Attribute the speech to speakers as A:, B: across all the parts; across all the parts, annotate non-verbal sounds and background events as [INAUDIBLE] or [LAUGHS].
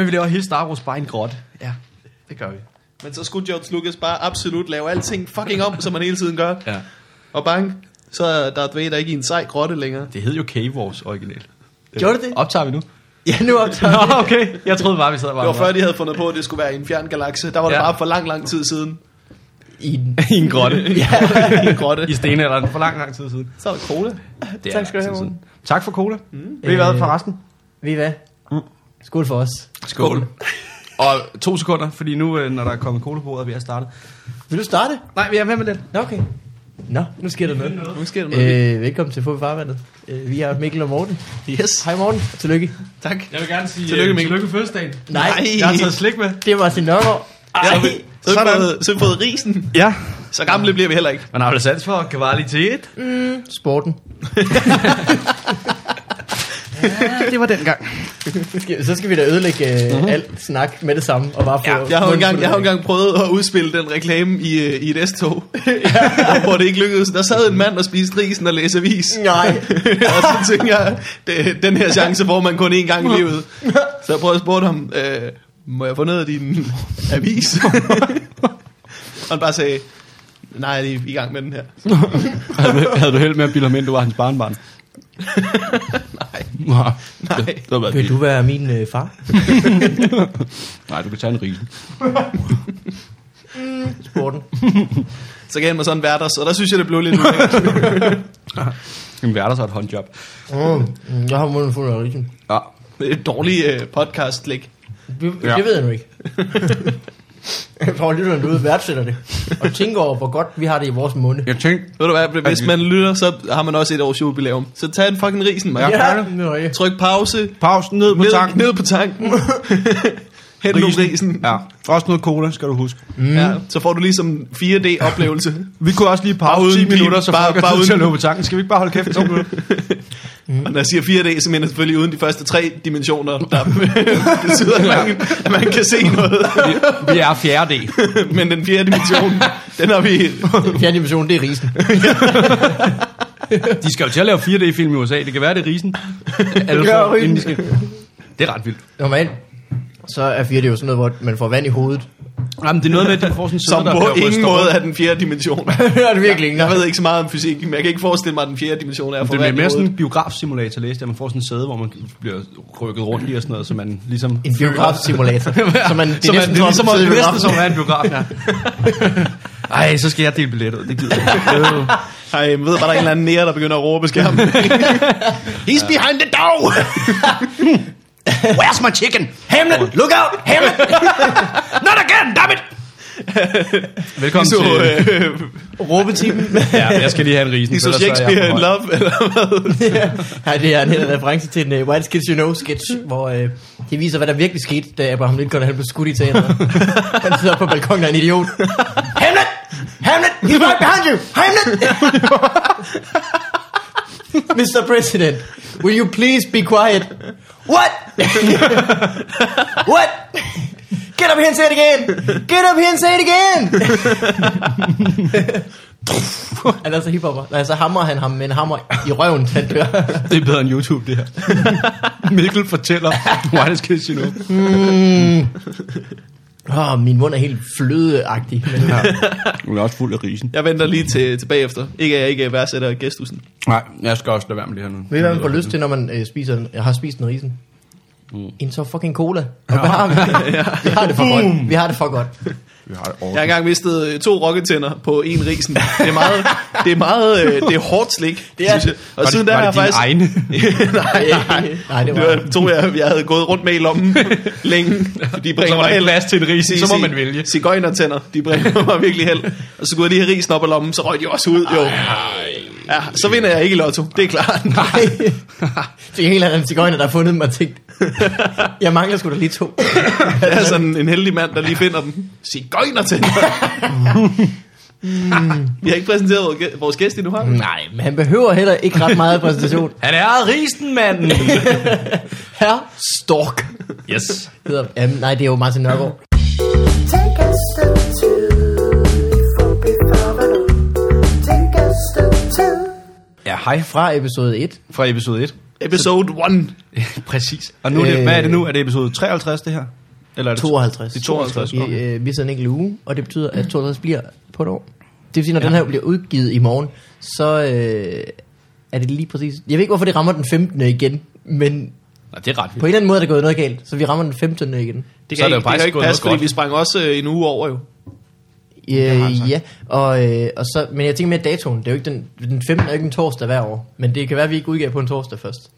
A: øh,
B: bliver hele Star Wars bare en grot. Ja, det gør vi.
A: Men så skulle George Lucas bare absolut lave alting fucking om, som man hele tiden gør.
B: Ja.
A: Og bang, så er Darth Vader ikke i en sej grotte længere.
B: Det hed jo Cave Wars originalt.
C: Øh, Gjorde det det?
B: Optager vi nu?
C: Ja, nu optager
B: Nå,
C: vi.
B: okay. Jeg troede bare, vi sad bare.
A: Det var før, de havde fundet på, at det skulle være i en fjern galakse. Der var det
B: Ja.
A: bare for lang, lang tid siden.
C: I [LAUGHS] den.
B: I en grotte.
A: Ja, i en grotte.
B: I stenalderen for lang, lang tid siden.
A: Så er der cola.
B: Det er
C: Tak skal du
B: lang tid
C: have,
B: siden.
C: Morten.
B: Tak for cola. Mm. Ved I
C: Øh, Mm.
B: hvad for resten?
C: Ved I hvad? Skål for os.
B: Skål. Og to sekunder, fordi nu, øh, når der er kommet cola på bordet, er vi er startet.
C: Vil du starte?
B: Nej, vi er med med det.
C: Nå, okay. Nå, nu sker der noget.
A: Nu sker der noget.
C: Øh, velkommen til Fubi Farvandet. Øh, vi er Mikkel og Morten.
A: Yes,
C: Hej Morten, tillykke.
A: tak.
B: Jeg vil gerne sige øh,
A: Tillykke, Mikkel.
B: tillykke fødselsdagen.
C: Nej,
B: Jeg har taget slik med.
C: det var sin nørgaard.
A: Ja,
C: Ej,
A: så har vi fået- så har vi fået risen.
B: Ja.
A: Så gamle bliver vi heller ikke.
B: Man har vel sans for kvalitet.
C: sporten.
B: Ja, det var den gang.
C: Så skal- [LAUGHS] Så skal vi da ødelægge øh, mm-hmm. alt snak med det samme, og bare få...
B: Ja,
A: Jeg har jo engang, jeg har jo engang prøvet at udspille den reklame i, øh, i et
B: [LAUGHS]
A: S-tog, [LAUGHS] ja. hvor det ikke lykkedes. Der sad en mand og spiste risen og læste avis.
C: Nej,
A: [LAUGHS] og så tænkte jeg, det, den her chance får man kun én gang i livet. Så jeg prøvede at spørge ham, øh, må jeg få noget af din avis? [LAUGHS] og han bare sagde, nej, jeg er i gang med den her.
D: havde, du- havde du held med at bilde ham ind, du var hans barnbarn? Nej. [LAUGHS] Nej.
A: Nej.
D: Det, det var været
C: vil
D: vildt.
C: du være min øh, far?
D: Nej, du kan tage en risen.
C: Sporten.
A: Så gav han mig sådan en hverdags, og der synes jeg, det blev lidt ulækkert.
D: En hverdags og et håndjob.
C: Mm, jeg har munden fuld af rigtigt.
D: Ja.
A: Det er et dårligt øh, podcast-læg.
C: Det,
D: Ja.
C: det ved jeg nu [LAUGHS] ikke. Jeg tror, lytterne derude værdsætter det. Og tænker over, hvor godt vi har det i vores munde.
D: Jeg tænkte,
A: Ved du hvad, hvis man lytter, så har man også et års jubilæum. Så tag en fucking risen, man.
C: nøje.
A: Tryk pause,
D: pausen ned på
A: ned,
D: tanken.
A: ned på tanken. Hent nogle risen.
D: Ja. Også noget cola, skal du huske.
A: Mm. Ja, så får du ligesom 4D-oplevelse.
D: Vi kunne også lige
A: Bare uden
D: pause 10
A: pip.
D: minutter, så
A: Bare-
D: folk
A: bare
D: er nødt til
A: uden-
D: at løbe på tanken. Skal vi ikke bare holde kæft i 2 minutter?
A: Og når jeg siger 4D, så mener jeg selvfølgelig uden de første tre dimensioner,
D: [LAUGHS]
A: der betyder, at man, at man kan se noget.
D: [LAUGHS] Vi- Vi er fjerde del.
A: Men den fjerde dimension, den
D: [LAUGHS]
A: har vi...
C: Fjerde dimension, det er risen.
D: De skal jo til at lave 4D-film i USA. Det kan være, det er risen. Alle
C: Ja,
D: får, inden de
C: risen.
D: skal. Det er ret vildt.
C: Normalt, så er fjerde det jo sådan noget, hvor man får vand i [LAUGHS] hovedet.
D: Jamen, det er noget med, at de får sådan en sæde,
A: Som
D: der
A: på
D: bliver
A: ingen
D: rystet
A: måde
D: rundt.
A: er den fjerde dimension.
C: det er det virkelig ikke.
A: Jeg
C: nej.
A: ved ikke så meget om fysik, men jeg kan ikke forestille mig, at den fjerde dimension er for
D: Det er
A: vand i
D: mere sådan
A: hovedet.
D: en biografsimulator, læste jeg. Man får sådan en sæde, hvor man bliver rykket rundt i og sådan noget, så man ligesom...
C: En [LAUGHS] biografsimulator. så man, det
A: Så
C: er
A: man-
C: næsten
A: det er
C: som
A: ligesom
C: at
A: at-
C: sidde i
A: næsten
C: biografen.
D: som er en biograf, ja. Ej, så skal jeg dele billetter ud. Det gider jeg ikke.
A: Ej, men ved bare, der er en eller anden nære, der begynder at råbe på
D: [LAUGHS]
A: skærmen.
D: He's behind the dog! Where's my chicken? Hamlet, look out! Hamlet! Not again, damn it!
A: De
D: Velkommen
A: så,
D: til...
A: øh,
C: Råbetimen.
D: Ja, jeg skal lige have en risen.
A: de så Shakespeare in Love, eller hvad?
C: Nej, det er en hel reference til en uh, White Kids You Know sketch, hvor uh, det viser, hvad der virkelig skete, da Abraham Lincoln han blev skudt i teateret. han sidder på balkonen og er en idiot. Hamlet! Hamlet! He's right behind you! Hamlet! [LAUGHS] Mr. President, will you please be quiet? What? What? Get up here and say it again! Get up here and say it again! han er så hiphopper. Nej, så hammer han ham med en hammer i røven, han dør.
D: Det er bedre end YouTube, det her. [LAUGHS] Mikkel fortæller, why does kids you know?
C: Åh, oh, Mm. min mund er helt flødeagtig. Men ja.
D: Hun er også fuld af risen.
A: Jeg venter lige til, til bagefter. Ikke at jeg ikke værdsætter gæsthusen.
D: Nej, jeg skal også lade være med det her nu.
C: Ved I, hvad man får lyst til, når man øh, spiser, den- jeg har spist en risen? Mm. En så fucking cola. Og hvad har vi? vi har det for godt. Vi har det for godt.
D: Vi har det
A: Jeg har
D: over.
A: engang mistet øh, to rokketænder på en risen. Det er meget, det er meget, øh, det er hårdt slik,
C: Det er-
A: synes jeg. Og
D: Var det,
A: siden
D: var
A: der har
D: det
A: jeg
D: din
A: faktisk...
D: egne?
C: nej, nej, det
A: Det
C: var...
A: var to, jeg, jeg havde gået rundt med i
D: [LAUGHS]
A: lommen længe. De bringer
D: Så var
A: mig
D: der ikke
A: held.
D: plads til en risen, så må man vælge.
A: Cigøjnertænder, de bringer mig virkelig held. Og så kunne jeg lige have risen op af lommen, så røg de også ud. Jo. Ja, så vinder jeg ikke i lotto, det er klart.
C: Nej. det er en helt anden cigøjner, der har fundet mig tænkt. Jeg mangler sgu da lige to.
A: [LAUGHS] Jeg er sådan en heldig mand, der lige finder den.
D: [LAUGHS]
A: Cigøjnertænder. Vi har ikke præsenteret vores gæ- vores gæst endnu, har vi?
C: Nej, men han behøver heller ikke ret meget præsentation.
D: [LAUGHS] Han er
C: [LAUGHS]
D: risen, manden!
C: Herr Stork
D: Yes.
C: hedder... Jamen, nej, det er jo Martin Nørgaard.
E: Take a step two before before we Take a step two.
D: Ja, hej
C: Fra episode 1.
D: fra episode 1.
A: Episode 1.
D: Præcis. Og nu er det,
C: Øh.
D: hvad er det nu? Er det episode 53, det her?
A: Eller er det
C: 52.
A: Det er 52,
C: Vi,
A: okay.
C: øh, vi sidder en enkelt uge, og det betyder, at 52 bliver på et år. Det vil sige, når ja. den her bliver udgivet i morgen, så øh, er det lige præcis... Jeg ved ikke, hvorfor det rammer den 15. igen, men
D: Nej, det er ret
C: på en eller anden måde er der gået noget galt, så vi rammer den 15. igen.
A: Det
D: Så
A: kan, ikke,
D: er det jo
A: det
D: faktisk
A: kan ikke
D: gået
A: passe,
D: noget
A: fordi vi sprang også øh, en uge over jo.
C: Øh, ja, og, øh, og så, men jeg tænker mere datoen. Det er jo ikke den, den 15. er jo ikke en torsdag hver år, men det kan være, at vi ikke udgiver på en torsdag først.
A: Det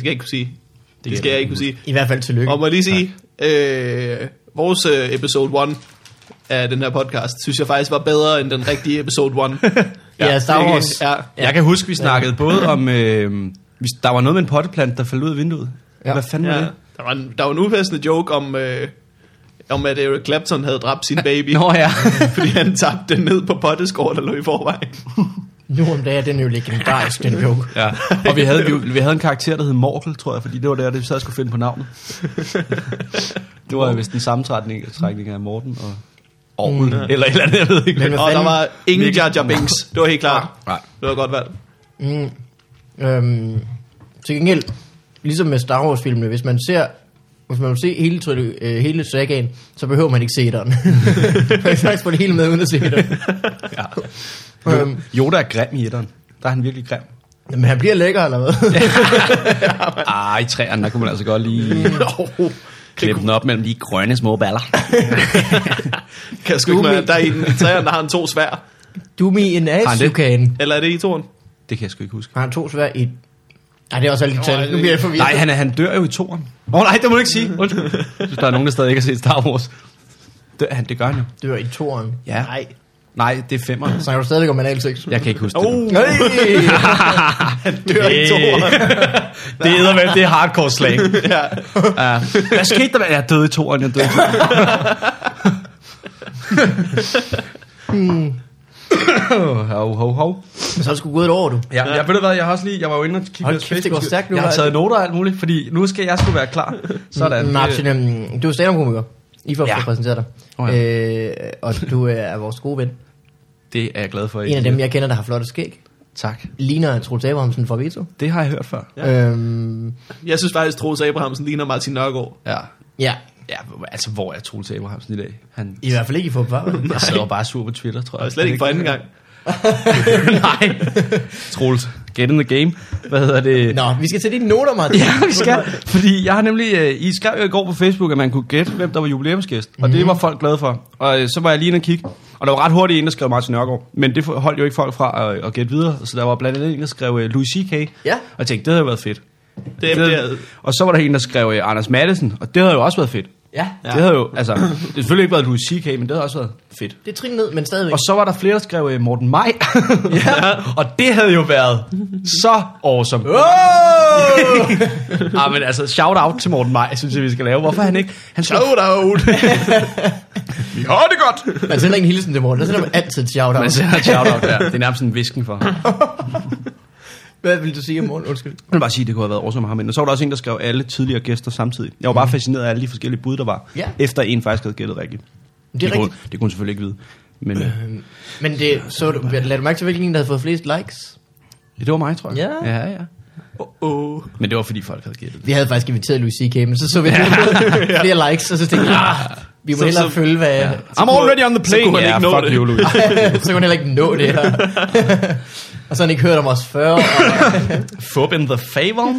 A: skal jeg ikke kunne sige. Det, det
D: kan
A: skal
D: jeg
A: jeg ikke kunne sige.
C: I hvert fald tillykke.
A: Og må jeg lige sige, øh, vores øh, episode 1 af den her podcast, synes jeg faktisk var bedre end den rigtige episode 1.
C: ja, ja, Star Wars.
A: Ja.
C: Ja.
D: Ja. Jeg kan huske, vi snakkede både om... Øh, hvis- der var noget med en potteplante, der faldt ud af vinduet.
C: Ja.
D: Ja. Hvad fanden ja. var
A: Ja.
D: det?
A: Der, var en, der var en upassende joke om, øh, om at Eric Clapton havde dræbt sin baby,
D: Nå ja.
A: [LAUGHS] fordi han tabte den ned på potteskåret, der lå i forvejen.
C: Nu om dagen er den jo legendarisk, den joke.
D: ja. Og vi havde, vi, vi havde en karakter, der hed Morkel, tror jeg, fordi det var der, det vi sad og skulle finde på navnet. det var vist en sammentrækning trækning af Morten og Orgel, mm, eller et eller andet, jeg ved ikke.
C: Men hvad
D: hvad.
A: Og der
C: fanden?
A: var ingen
D: Virkelig
A: Jar Jar Binks. Det var helt klart.
D: Nej.
A: Det var godt valgt. [LAUGHS]
C: Mm. Øhm, til gengæld, ligesom med Star Wars filmene, hvis man ser hvis man vil se hele, trilogi, øh, hele sagaen, så behøver man ikke se
D: [LAUGHS]
C: den. man kan faktisk få det hele med, uden at se den.
D: [LAUGHS]
C: ja. øhm,
D: Yoda er grim i etteren. Der er han virkelig grim.
C: men han bliver lækker, eller hvad? [LAUGHS]
D: Ah, i træerne, der kunne man altså godt lige
A: Oh,
D: klippe den op mellem de grønne små baller.
A: kan jeg sgu ikke med, der er en i træerne, der har en to svær.
C: du me en ass,
D: han
C: du
D: det?
C: kan.
A: Eller er det i toren?
D: Det kan jeg sgu ikke huske.
C: Har han to svær i... Ej, det er også alt tal. Nu bliver jeg forvirret.
D: Nej, han, er- han dør jo i toren. Åh oh, nej, det må du ikke sige. Undskyld. Hvis der er nogen, der stadig ikke har set Star Wars. Det, han, det gør han jo.
C: Det var i toren.
D: Ja.
C: Nej.
D: Nej, det er femmer.
C: Snakker du stadigvæk om anal
D: [LAUGHS]
C: sex?
D: Jeg kan ikke huske det.
A: Oh,
C: Nej!
A: dør i toren.
D: Det er eddermame, det er hardcore [LAUGHS] slang.
A: Ja.
D: Uh, hvad skete der? med- Jeg døde i toren, jeg døde i toren. hmm. hov, hov, hov.
C: Så er det sgu gået et år, du.
D: Ja, jeg ved du hvad, jeg har også lige, jeg var jo inde og kigge
C: Hold
D: på
C: kæft, det går
D: Facebook.
C: stærkt nu,
D: Jeg har
C: hva'?
D: taget noter og alt muligt, fordi nu skal jeg skulle være [LAUGHS] klar. Sådan.
C: Martin, øhm, du er stand-up-komiker. I får ja. præsentere dig.
D: Åh,
C: øh, og du er vores gode ven.
D: Det er jeg glad for.
C: En af dem, jeg kender, der har flotte skæg.
D: Tak.
C: Ligner Troels Abrahamsen fra Vito.
D: Det har jeg hørt før.
C: Ja. Øhm,
A: Jeg synes faktisk, Troels Abrahamsen ligner Martin Nørgaard.
D: Ja.
C: ja,
D: Ja, hvor- altså, hvor er Troels Abrahamsen i dag? Han
C: i hvert fald ikke i Altså. fodbold.
D: jeg sidder bare sur på Twitter, tror jeg.
A: Og slet ikke for anden gang.
D: [LAUGHS] Nej. Troels, get in the game. Hvad hedder det?
C: Nå, vi skal til dine noter, Martin.
D: Ja, vi skal. Fordi jeg har nemlig, øh, I skrev jo i går på Facebook, at man kunne gætte, hvem der var jubilæumsgæst. Og det var folk glade for. Og øh, så var jeg lige inde og kigge. Og der var ret hurtigt en, der skrev Martin Nørgaard. Men det holdt jo ikke folk fra at, at gætte videre. Så der var blandt andet en, der skrev øh, Louis C.K.
C: Ja.
D: Og jeg tænkte, det havde jo været fedt.
A: Det er det.
D: Og så var der en, der skrev øh, Anders Madsen, og det havde jo også været fedt.
C: ja.
D: Ja. Det havde jo, altså, det havde selvfølgelig ikke været Louis C.K., men det havde også været fedt.
C: Det er trin ned, men stadigvæk.
D: Og så var der flere, der skrev øh, Morten Maj. [LAUGHS] ja. [LAUGHS] Og det havde jo været så awesome.
C: Oh!
D: [LAUGHS] ah, men altså, shout out til Morten Maj, synes jeg, vi skal lave. Hvorfor er han ikke? Han slog...
A: out. Vi har det godt.
C: man sender ikke en hilsen til Morten, der sender man altid et Altså, shout-out.
D: Man sender et shout out der. [LAUGHS] Det er nærmest en visken for ham.
C: Hvad vil du sige om Morten? Undskyld.
D: Jeg vil bare sige, at det kunne have været awesome ham. Men så var der også en, der skrev alle tidligere gæster samtidig. Jeg var bare fascineret af alle de forskellige bud, der var.
C: Mhm. Ja.
D: Efter en faktisk havde gættet rigtigt.
C: Det er
D: kunne,
C: rigtigt.
D: det kunne hun selvfølgelig ikke vide. Men øh,
C: Men det, så du, lad du mærke til, hvilken en, der havde fået flest likes?
D: det var mig, tror jeg.
C: Ja.
D: ja, ja.
A: Oh.
D: Men det var, fordi folk havde gættet det.
C: Vi havde faktisk inviteret Louis C.K., men så så [LAUGHS] vi flere, flere likes, og så tænkte jeg, ah, vi må
A: Så-
C: hellere
A: så-
C: følge, hvad...
D: I'm already on the
A: så
D: plane.
A: kunne han
D: Ja,
A: ikke nå
D: fuck
A: det.
D: you, Louis.
C: [LAUGHS] så kunne han heller ikke nå det her. [LAUGHS] og så har han ikke hørt om os før. Og,
D: [LAUGHS] Fub in the favor.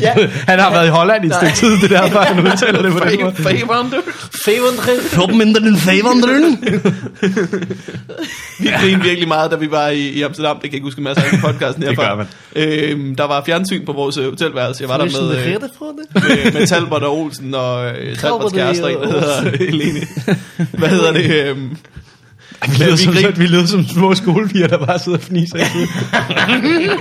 C: ja,
D: han har været i Holland i et stykke tid, det der, før han udtaler det på den måde.
A: Favoren, du.
C: Fevendril.
D: Fub in the favor,
A: Vi grinede virkelig meget, da vi var i, i Amsterdam. Det kan jeg ikke huske masser af i podcasten
D: [LAUGHS] Det
A: herfra.
D: gør man.
A: Øhm, der var fjernsyn på vores øh, hotelværelse. Jeg var der med, øh, med, med Talbot og Olsen og øh, Talbots
C: Talbot
A: kæreste,
C: og
A: der hedder Helene. Hvad hedder det? Øhm,
D: Vi lyder,
A: Vi
D: som,
A: griner.
D: vi lyder som små skolepiger, der bare sidder og fniser. hele tiden.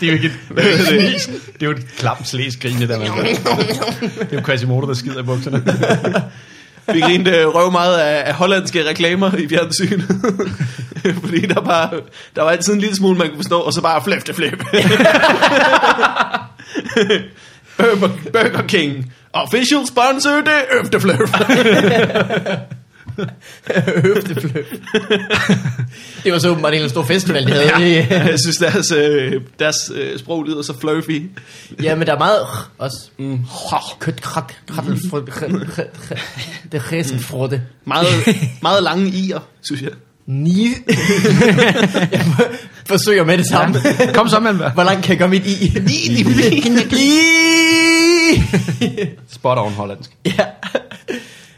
D: det er jo ikke et, hvad hedder det, det er jo et klamt slæsgrin, det der. Man. Det er jo Quasimodo, der skider i bukserne.
A: [LAUGHS] Vi grinte øh, røv meget af, af hollandske reklamer i fjernsynet. [LAUGHS] Fordi der var, der var altid en lille smule, man kunne forstå, og så bare flæf til [LAUGHS] flæf. Burger, Burger King. Official sponsor, det er øfte flæf.
C: Høftefløb. det var så åbenbart en eller anden stor festival, de havde. Ja.
A: [LAUGHS] Jeg synes, deres, øh, deres øh, sprog lyder så fluffy.
C: ja, men der er meget r- også. Kødt krat, krattelfrød, det er hæsenfrøde.
D: [LAUGHS]
A: Meget, meget lange i'er, synes jeg.
C: Ni. [LAUGHS] jeg forsøger med det samme.
D: Kom så, mand. hva'?
C: Hvor langt kan jeg komme ind i? Ni, [LAUGHS]
D: Spot on hollandsk.
C: Ja.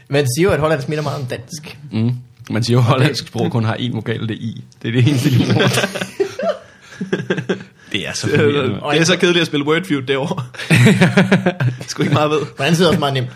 C: Man siger jo, at hollandsk minder meget om dansk.
D: Mm. Man siger jo, at hollandsk sprog kun har én vokal, det er i. Det er det eneste, de bruger. det er så forvirrende.
A: Det er så kedeligt at spille Wordfeud derovre.
D: [LAUGHS]
A: Sgu ikke meget ved.
C: Hvordan sidder også meget nemt.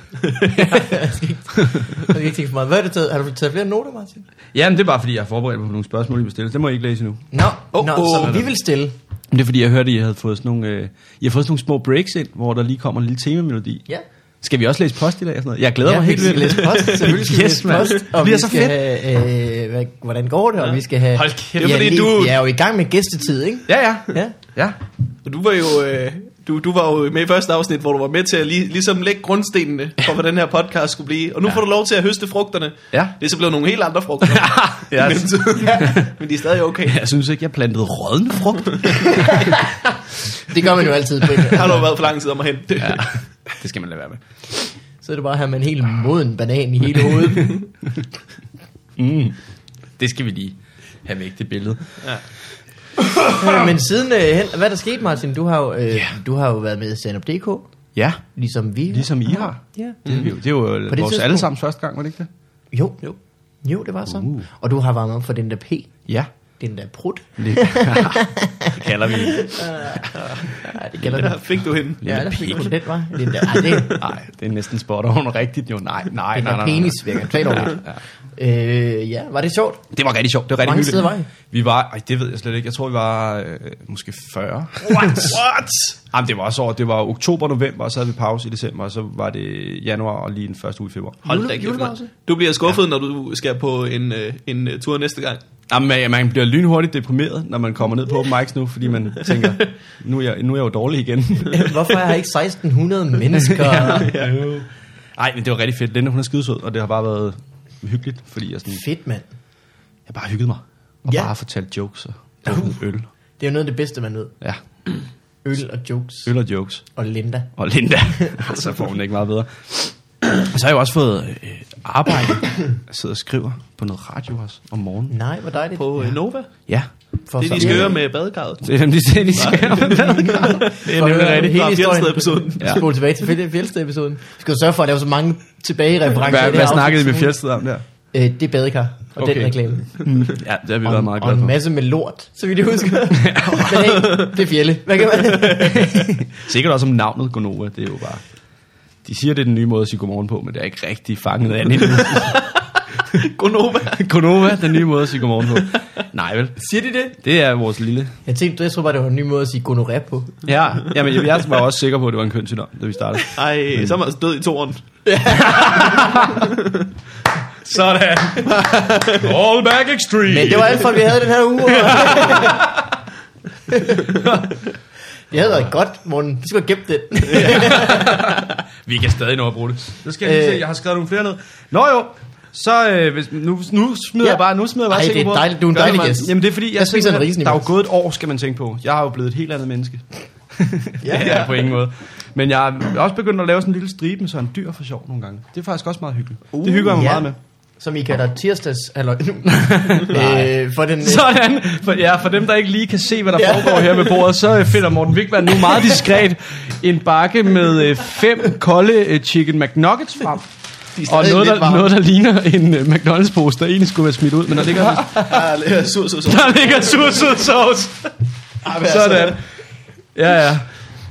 C: jeg skal ikke, [LAUGHS] jeg skal ikke tænke for meget. Hvad har du taget? Har du taget flere noter, Martin?
D: Jamen, det er bare fordi, jeg har forberedt mig på nogle spørgsmål, I vil stille. Det må jeg ikke læse nu.
C: Nå, no,
A: Åh,
C: no,
A: åh.
C: som vi vil stille.
D: Men det er fordi, jeg hørte, at I havde fået sådan nogle, øh, I har fået sådan nogle små breaks ind, hvor der lige kommer en lille temamelodi.
C: Ja.
D: Skal vi også læse post i dag? og Sådan noget? Jeg glæder
C: ja,
D: mig helt
C: vi skal
D: vildt.
C: læse post.
B: [LAUGHS]
C: Selvfølgelig skal
D: Yes,
C: yes, vi
D: mand.
C: læse post.
D: Det
C: Og
D: bliver
C: vi
D: så
C: skal have, øh, hvad, hvordan går det? Og vi skal have...
A: Hold kæft. Det er
C: ja,
A: fordi,
C: lige,
A: du-
C: Vi er jo i gang med gæstetid, ikke?
D: Ja, ja.
C: Ja.
D: ja.
A: Og du var jo... Øh, du, du var jo med i første afsnit, hvor du var med til at lige, ligesom lægge grundstenene for, hvad den her podcast skulle blive. Og nu ja. får du lov til at høste frugterne.
D: Ja.
A: Det er så blevet nogle helt andre frugter.
D: [LAUGHS] Ja. altså-
A: I [LAUGHS] mellemtiden. Men de er stadig okay.
D: Jeg synes ikke, jeg plantede rådden frugt.
C: Det gør man jo altid.
A: Det har
C: Peter.
A: du været for lang tid om at hente det. Ja.
D: Det skal man lade være med.
C: Så er det bare at have en helt moden banan i hele hovedet.
D: Mm. Det skal vi lige have væk, det billede.
C: Øh, Men siden... Øh, hen- hvad er der sket, Martin? Du har jo, øh, du har jo været med i Stand-Up.dk,
D: Ja,
C: ligesom vi.
D: ligesom I har.
C: Ja.
D: Det er jo, det er jo vores
C: tidspunkt-
D: allesammens første gang, var det ikke det?
C: Jo, jo. Jo, det var sådan. Uh. Og du har været med for den der P.
D: Ja.
C: Den der prut.
D: Det, det kalder vi
C: Ja, det gælder
A: Der
C: den.
A: fik du hende.
C: Ja, der
D: Lille
C: fik
D: pik.
C: du den, var. Den der,
A: [LAUGHS]
C: ej, det,
D: Nej, det er næsten spot on rigtigt jo. Nej, nej,
C: den
D: nej,
C: der
D: nej, nej.
C: penis, vil jeg tale over. Øh, ja, var det sjovt?
D: Det var rigtig sjovt. Det var rigtig
C: mange
D: hyggeligt.
C: steder var I?
D: Vi var, ej, det ved jeg slet ikke. Jeg tror, vi var øh, måske 40.
A: What? What?
D: Jamen, det var også over. Det var oktober, november, og så havde vi pause i december, og så var det januar og lige den første uge i februar.
A: Hold da kæft, mand. Du bliver skuffet, ja. når du skal på en, øh, en øh, tur næste gang.
D: Jamen, man, man bliver lynhurtigt deprimeret, når man kommer ned på open mics nu, fordi man tænker, nu er jeg, nu er jeg jo dårlig igen.
C: [LAUGHS] Hvorfor er jeg ikke 1600 [LAUGHS] mennesker?
D: Nej, men det var rigtig fedt. Linda, hun er skidesød, og det har bare været hyggeligt, fordi jeg, sådan,
C: Fedt, mand.
D: jeg bare hyggede mig. Og
C: Ja.
D: bare fortalte jokes og drukket øl.
C: Det er jo noget af det bedste, man ved.
D: Ja,
C: Øl og jokes
D: øl og jokes.
C: og Linda.
D: og Linda. [LAUGHS] så får hun det ikke meget bedre. Så har jeg jo også fået øh, arbejde. Jeg sidder og skriver på noget radio også om morgenen.
C: Nej, hvor dejligt.
A: På øh, Nova.
D: Ja.
C: For
A: Det er de skøre med badekarret.
D: Det er dem, de [LAUGHS] ser, de skriver.
A: Det er
C: For
A: nemlig
C: at høre
A: rigtigt.
C: hele
A: Fra
C: historien.
A: Fjeldsted-episoden.
C: Ja. Spol tilbage til Fjeld- Fjeldsted-episoden. Vi skal jo sørge for, at der er så mange tilbage referencer.
D: Hvad, hvad snakkede I med Fjeldsted om der?
C: Øh, det er badekar, og okay. den
D: Okay.
C: reklame.
D: Ja, det har vi
C: Og,
D: været meget
C: og
D: glade
C: en
D: for.
C: masse med lort, så vidt jeg
D: [LAUGHS]
C: husker. Men hey, det er fjelle. Hvad kan man?
D: Sikkert også om navnet Gonova, det er jo bare... De siger, det er den nye måde at sige godmorgen på, men det er ikke rigtig fanget af endnu.
A: Gonova.
D: Gonova, den nye måde at sige godmorgen på. Nej vel,
C: Siger de det?
D: det er vores lille...
C: Jeg tænkte, jeg tror bare, det var en ny måde at sige gonoré på.
D: Ja, jamen, jeg- jeg var også sikker på, at det var en kønssygdom, da vi startede.
A: Ej, så er man altså død i
D: [LAUGHS]
A: toren.
D: [LAUGHS] Sådan. All back extreme.
C: Men det var alt for, vi havde den her uge. [LAUGHS] Det havde været godt, Morten. Vi skulle have gemt den.
D: Vi kan stadig nå at bruge det. Det skal jeg lige
C: Øh.
D: se. Jeg har skrevet nogle flere ned. Nå jo, så øh, hvis, nu, nu smider
C: Ja.
D: ja. jeg bare, nu smider jeg bare
C: Ej, det er
D: singlebrød.
C: dejligt. Du er en
D: Gør det,
C: dejlig
D: mand.
C: gæst.
D: Jamen det er fordi, jeg,
C: Jeg spiser en
D: simpelthen-
C: risen
D: Der er jo
C: imens.
D: gået et år, skal man tænke på. Jeg er jo blevet et helt andet
C: [LAUGHS]
D: menneske. ja, [LAUGHS] ja. på ingen måde. Men jeg er også begyndt at lave sådan en lille stribe med sådan en dyr for sjov nogle gange. Det er faktisk også meget hyggeligt. Uh, det hygger jeg mig
C: ja.
D: meget med.
C: Som I kalder tirsdags...
D: [LAUGHS]
C: Eller, øh, for den... øh,
D: Sådan. For, ja, for dem, der ikke lige kan se, hvad der foregår her ved bordet, så øh, finder Morten Wigman nu meget diskret en bakke med øh, fem kolde øh, chicken McNuggets frem. Og noget der, noget, der ligner en øh, McDonald's-pose, der egentlig skulle være smidt ud, men der ligger, [LAUGHS]
A: Ah, sur, sur, sur.
D: der ligger sursød sauce.
A: Ah, hvad er
D: Sådan. Ja, ja.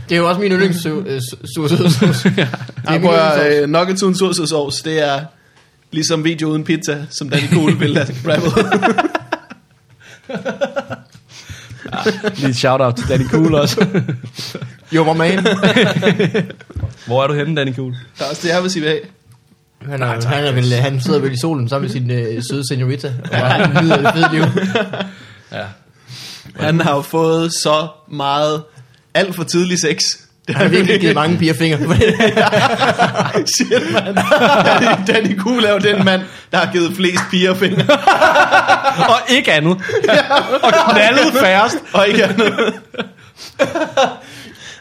C: Det er jo også min yndlings su- øh, su- su- su- su-
D: [LAUGHS]
C: su-
A: så? Ah, prøv at, øh, nuggets uden sur, sur, sovs, det er ligesom video uden pizza, som Danny Cole ville have [LAUGHS] rappet.
D: Lige et shout-out til Danny Cool også. øh,
C: Jo, hvor [LAUGHS] man
D: [LAUGHS] Hvor er du henne, Danny Cool?
A: Der er også det, jeg vil sige ved.
C: han, er, han, er vel, han sidder vel i solen sammen med sin øh, søde senorita, og bare nyder det fede liv.
A: Han har jo fået så meget alt for tidlig sex.
C: Det
A: [LAUGHS]
C: har virkelig givet mange piger
D: [LAUGHS]
C: fingre.
A: Shit, mand. Danny, Danny Kuhl er jo den mand, der har givet flest piger fingre.
D: Og ikke andet. [LAUGHS] Og knaldet færrest.
A: Og ikke andet.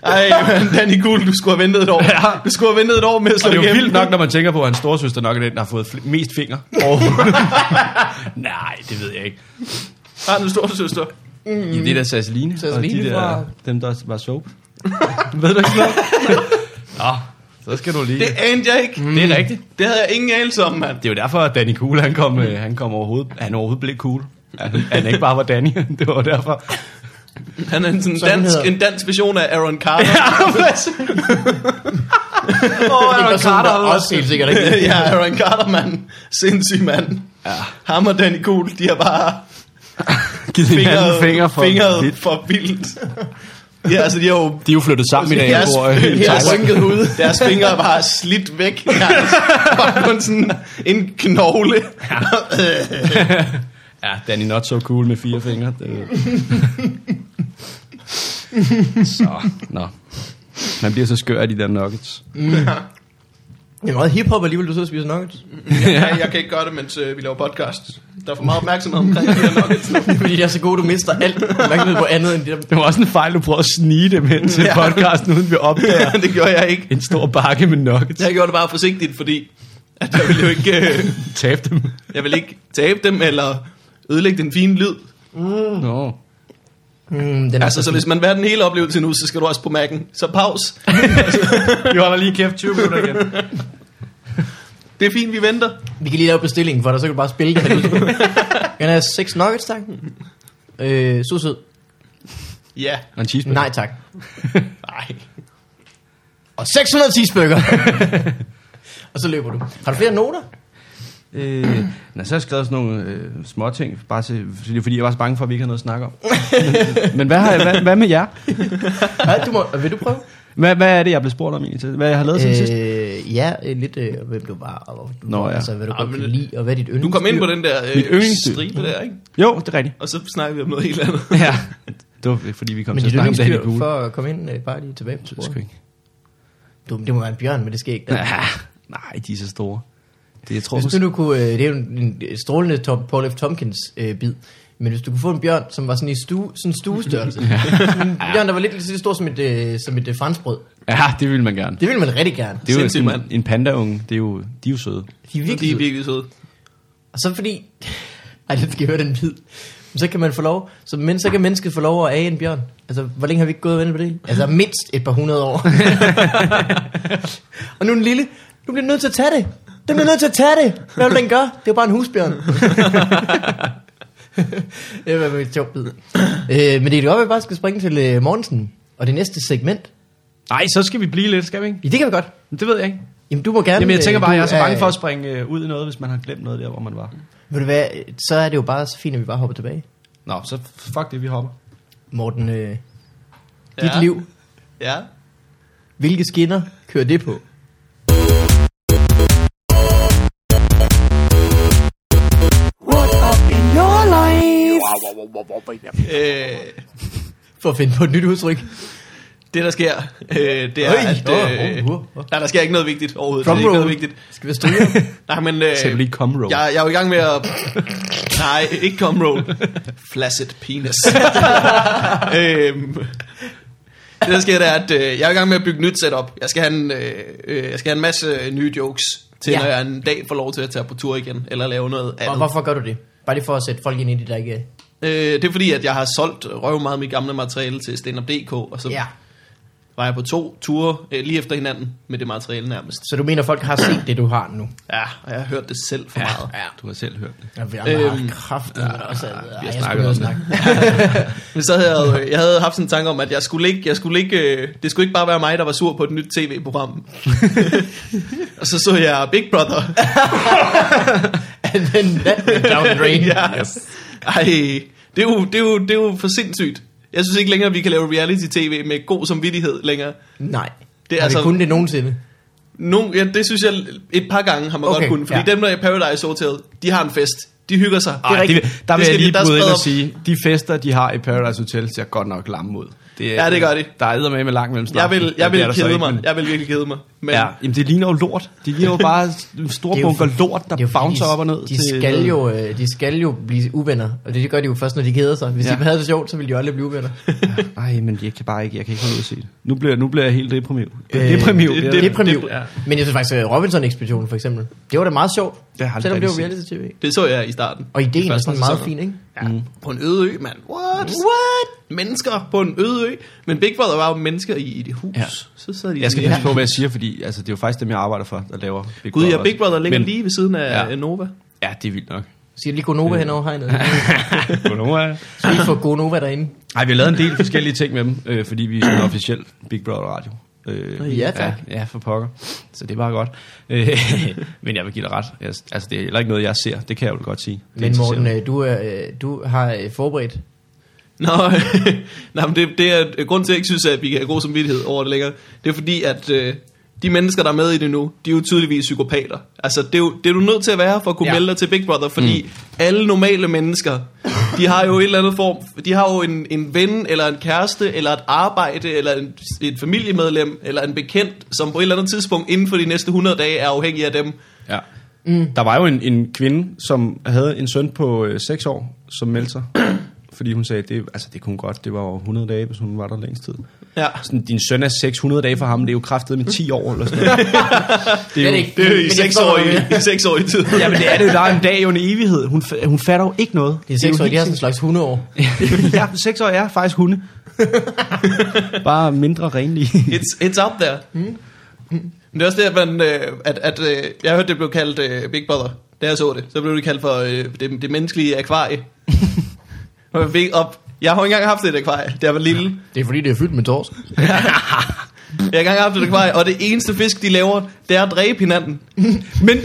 A: Ej, men Danny Kuhl, du skulle have ventet et år. Ja. Du skulle have ventet et år med at slå
D: Og det er jo
A: igennem.
D: vildt nok, når man tænker på, at hans storesøster nok er den, der har fået fl- mest fingre. Nej, det ved jeg ikke.
A: Har du en storsøster?
D: Ja, det er da Sasseline.
C: Sasseline
D: og de der,
C: fra-
D: dem, der var soap. [LAUGHS] ved du ikke noget? Nå, så skal du lige...
A: Det anede jeg ikke.
D: det er rigtigt.
A: Det havde jeg ingen anelse om, mand.
D: Det er jo derfor, at Danny Cool, han kom, øh, han kom overhovedet, han overhovedet blev cool. Han, han ikke bare var Danny, [LAUGHS] det var derfor.
A: Han er en, sådan
C: Sådan
A: dansk,
C: hedder-
A: en dansk version af Aaron
D: [LAUGHS]
A: Carter.
C: Åh, Aaron Carter også helt sikkert ikke.
A: [LAUGHS]
C: [LAUGHS]
A: ja, Aaron Carter, mand. Sindssyg mand. Ja. Ham og Danny Kuhl, de har
D: [LAUGHS]
A: bare
D: Giv
A: fingret,
D: fingre for
A: fingret for vildt. Ja, altså de har jo
D: De er jo flyttet sammen i dag.
A: Jeres,
D: hvor, øh,
A: jeres,
D: Tyler-
A: rynket hud. deres fingre var slidt væk.
D: [LAUGHS]
A: nærmest. Bare kun sådan en knogle. [LAUGHS] Øh,
D: Ja, Danny not so cool med fire fingre. Det... [LAUGHS] så, nå. Man bliver så skør af de der nuggets.
C: Det er meget hiphop alligevel, du sidder og spiser nuggets.
A: jeg, jeg kan ikke gøre det, mens øh, vi laver podcast. Der er for meget opmærksomhed omkring det her nuggets nu.
D: [LAUGHS]
C: Det er [LAUGHS] fordi, de er så gode, du mister alt opmærksomhed på andet end det der.
D: Det var også en fejl, du prøvede at snige dem hen [LAUGHS] til
A: Ja.
D: podcasten, uden vi opdager
A: [LAUGHS] det gjorde jeg ikke.
D: en stor bakke med nuggets.
A: Jeg gjorde det bare forsigtigt, fordi at jeg ville jo ikke, øh,
D: Tab dem.
A: jeg ville ikke tabe dem eller ødelægge den fine lyd.
D: Nå.
C: Mm, den er
A: Altså, så hvis man vil have den hele oplevelse nu, så skal du også på Mac'en. Så pause.
D: Vi holder lige kæft 20 minutter igen.
A: Det er fint, vi venter.
C: Vi kan lige lave bestillingen for dig, så kan du bare spille det. [LAUGHS] Kan jeg have seks nuggets, tak? Øh, så sød.
A: Ja.
D: Og en cheeseburger.
C: Nej, tak. Nej. Og 600 cheeseburger. [LAUGHS] og så løber du. Har du flere noter?
D: Øh, nå, så har jeg skrevet sådan nogle øh, små ting, bare til, fordi, fordi jeg var så bange for, at vi ikke havde noget at snakke om. Men, men hvad, har jeg, hvad, hvad med jer?
C: Ja, du må, vil du prøve?
D: Hvad, hvad er det, jeg blev spurgt om egentlig? til? Hvad jeg har lavet siden sidst?
C: Øh, ja, øh, lidt øh, hvem du var, og hvor du
D: Nå,
C: var,
D: ja.
C: altså, hvad du
A: Ah,
C: godt
A: men-
C: kan lide, og hvad dit yndlings...
A: Du kom ind på den der
D: Mit
A: øh,
D: yndlingsdyr.
A: stribe der, ikke?
D: Jo, det er rigtigt.
A: Og så snakker vi om noget helt andet.
D: Ja. Det var fordi, vi kom
C: Men
D: til
C: dit
D: at snakke om det her
C: yndlingsdyr,
D: gule.
C: for at komme ind, øh, bare lige tilbage på
D: Det ved jeg sgu
C: sporet.
D: ikke.
C: Du, det må være en bjørn, men det skal [LAUGHS] ikke.
D: Ah, nej, de er så store. Det, jeg tror,
C: Hvis
D: måske-
C: nu du kunne, øh, det er jo en, en strålende Tom, Paul F. Tompkins øh, bid, men hvis du kunne få en bjørn, som var sådan i stue, sådan [LAUGHS] stuestørrelse, sådan en bjørn, der var lidt, lidt så stor som et, øh, som et øh, franskbrød,
D: Ja, det ville man gerne.
C: det ville man rigtig gerne.
D: Det er jo
A: Sindssygt,
D: sådan,
A: mand.
D: en pandaunge, det er jo, de er jo søde.
C: De er
A: De
C: virkelig
A: er
C: søde.
A: virkelig søde.
C: Og så fordi, ej, det skal jeg høre den bid, Men så kan man få lov, så, men, så kan mennesket få lov at age en bjørn. Altså, hvor længe har vi ikke gået og ventet på det? Altså, mindst et par hundrede år. og nu den lille, du bliver nødt til at tage det. Den bliver nødt til at tage det. Hvad vil den gøre? Det er bare en husbjørn. det var en sjov bid. Øh, men det er godt, at vi bare skal springe til øh, Mortensen og det næste segment.
D: Nej, så skal vi blive lidt, skal vi ikke?
C: Ja, det kan vi godt.
D: Men [LAUGHS] Det ved jeg ikke.
C: Jamen, du må gerne...
D: Jamen, jeg tænker
C: øh,
D: bare,
C: du
D: jeg er så bange for at springe øh, ud i noget, hvis man har glemt noget der, hvor man var.
C: Ved du hvad, så er det jo bare så fint, at vi bare hopper tilbage.
D: Nå, så fuck det, vi hopper.
C: Morten, øh, dit
A: Ja.
C: liv,
A: Ja.
C: hvilke skinner kører det på?
E: What up in your life?
A: Øh,
C: For at finde på et nyt udtryk.
A: det der sker, øh, det er,
C: Øj,
A: at... Øh,
C: åh, åh, åh.
A: nej, der sker ikke noget vigtigt overhovedet. Der er ikke
C: Drumroll.
A: noget vigtigt.
C: Skal vi stryge?
A: [LAUGHS] Nej, men... Øh,
D: Skal du lige come roll?
A: jeg, jeg er jo i gang med at... [LAUGHS] Nej, ikke cum roll. Flaccid
D: [LAUGHS]
A: penis. øhm, det der sker, det er, at øh, jeg er i gang med at bygge nyt setup. Jeg skal have en, øh, øh, jeg skal have en masse nye jokes til,
C: Ja.
A: ja. når jeg en dag får lov til at tage på tur igen, eller lave noget andet.
C: Og hvorfor gør du det? Bare lige for at sætte folk ind i det, der ikke er.
A: Øh, det er fordi, at jeg har solgt røv meget af mit gamle materiale til standup.dk, og så
C: Ja.
A: ja. var jeg på to ture øh, lige efter hinanden med det materiale nærmest.
C: Så du mener, folk har set det, du har nu?
A: Ja, og jeg har hørt det selv for ja. meget.
C: ja.
D: Du har selv hørt det.
C: Ja, vi har
A: Øhm,
C: øhm, kraften, men også... Ja, vi
D: har snakket om
C: snakke.
A: Men så havde jeg, jo- jeg havde haft sådan en tanke om, at jeg skulle ikke, jeg skulle ikke, øh, det skulle ikke bare være mig, der var sur på et nyt
D: [LAUGHS]
A: tv-program. og så så jeg Big Brother.
C: [LAUGHS] And then that went down the drain.
A: [LAUGHS] ja. yes. Ej, det er, jo, det, er jo, det er jo for sindssygt. Jeg synes ikke længere, at vi kan lave reality-tv med god samvittighed længere.
C: Nej.
A: Det
C: Det
A: er
C: er altså...
A: altså-
C: kun det nogensinde.
A: No, ja, det synes jeg et par gange har man
C: Okay,
A: okay, godt kunnet, fordi
C: ja.
A: ja. dem, der er i Paradise Hotel, de har en fest. De hygger sig.
D: Ej, det,
A: rigtigt.
D: vil- der vil
A: skal
D: jeg
A: de-
D: lige
A: der
D: bryde ind
A: spreder-
D: og sige, de fester, de har i Paradise Hotel, ser godt nok lamme ud. Det,
A: Ja, det gør de.
D: Der er med med langt mellem
A: Jeg
D: snakken.
A: vil,
D: Ja,
A: jeg
D: det er
A: vil
D: der så
A: kede
D: ikke,
A: mig.
D: men-
A: Jeg vil virkelig kede mig. Men
D: Ja, jamen det ligner jo lort. Det ligner jo bare store
C: Det er jo
D: bunker
C: fordi-
D: lort, der
C: det er jo fordi,
D: bouncer
C: de-
D: op og ned.
C: De skal, jo, øh, de skal jo blive uvenner, og det gør de jo først, når de keder sig. Hvis ja. de havde det sjovt, så ville de aldrig blive uvenner.
D: Nej, men jeg kan bare ikke, jeg kan ikke holde ud at se det. Nu bliver, nu bliver jeg helt deprimiv. Øh,
C: Øh,
D: deprimiv.
A: det-
D: Det,
A: det-
D: det,
C: Deprimiv.
A: ja.
C: Men jeg synes faktisk, at Robinson-ekspeditionen for eksempel, det var da meget sjovt,
D: Det har jeg
C: selvom det var
D: aldrig
C: reality-tv.
A: det så jeg i starten.
C: Og ideen er
A: første
C: sådan meget
A: sæson.
C: fin, ikke?
A: Ja, mm. på en øde ø, mand. What? What? Mennesker på en øde ø. Men Big Brother var jo mennesker i, i det hus. Ja.
D: Ja.
A: Så sad de
D: jeg skal
A: sådan,
D: passe på, hvad jeg siger, fordi altså, det er jo faktisk dem, jeg arbejder for, der laver Big
A: Gud, ja,
D: også.
A: Big Brother ligger
D: Men-
A: lige ved siden af
D: Ja.
A: ja. Nova.
D: Ja, det er vildt nok.
C: Siger lige Gonova øh. henover hegnet. Så vi får
A: [LAUGHS]
C: Gonova derinde.
D: Nej, vi har lavet en del forskellige ting med dem, øh, fordi vi er sådan en officiel Big Brother radio. Øh,
C: Ja, tak.
D: Ja, ja, for pokker. Så det er bare godt. Øh, [LAUGHS] men jeg vil give dig ret. Jeg, altså, det er heller ikke noget, jeg ser. Det kan jeg jo godt sige. Det
C: Men
D: interesserer
C: Morten,
D: mig.
C: øh, du, er, øh, du har øh, forberedt.
A: Nå, [LAUGHS] nej, men det, det er grund til, at jeg ikke synes, at vi kan have god samvittighed over det længere. Det er fordi, at øh, de mennesker, der er med i det nu, de er jo tydeligvis psykopater. Altså, det er, jo, det er du nødt til at være for at kunne ja.
C: Ja.
A: melde dig til Big Brother, fordi mm. alle normale mennesker, de har jo en eller anden form, de har jo en, en ven, eller en kæreste, eller et arbejde, eller en, et familiemedlem, eller en bekendt, som på et eller andet tidspunkt inden for de næste 100 dage er afhængig af dem.
D: Ja. Mm. Der var jo en, en kvinde, som havde en søn på øh, 6 år, som
A: [CLEARS THROAT]
D: meldte sig. fordi hun sagde, det, altså, det kunne godt, det var jo 100 dage, hvis hun var der længst tid.
A: Ja.
D: Sådan, din søn er 600 dage for ham, det er jo kraftet med 10 år
A: [LAUGHS]
D: eller sådan noget.
C: Det er
D: jo-
C: det ikke.
A: Det Mm. er jo
C: Men
A: i
C: jeg
A: seks
C: forstår
A: år,
C: godt,
A: i, i seks år i tid.
D: Ja, men det er det jo, der er en dag jo en evighed. Hun, fa- hun fatter jo ikke noget.
C: De er seks
D: jo
C: år, de
D: helt
C: har sådan en slags hundeår.
D: sindssygt. ja, seks år er faktisk
A: [LAUGHS]
D: hunde. Bare mindre renlige.
A: It's, it's up there. Mm. Men det er også det, at, man, øh, at, at øh, jeg hørte, det blev kaldt øh, Big Brother. Da jeg så det, så blev det kaldt for øh, det, det menneskelige [LAUGHS] akvarie. og jeg, fik op. jeg har jo ikke engang haft et akvarie, da jeg var lille.
C: Det er fordi, det er fyldt med torsk.
A: Jeg har ikke engang haft et akvarie, og det eneste fisk, de laver, det er at dræbe [LAUGHS] hinanden. Men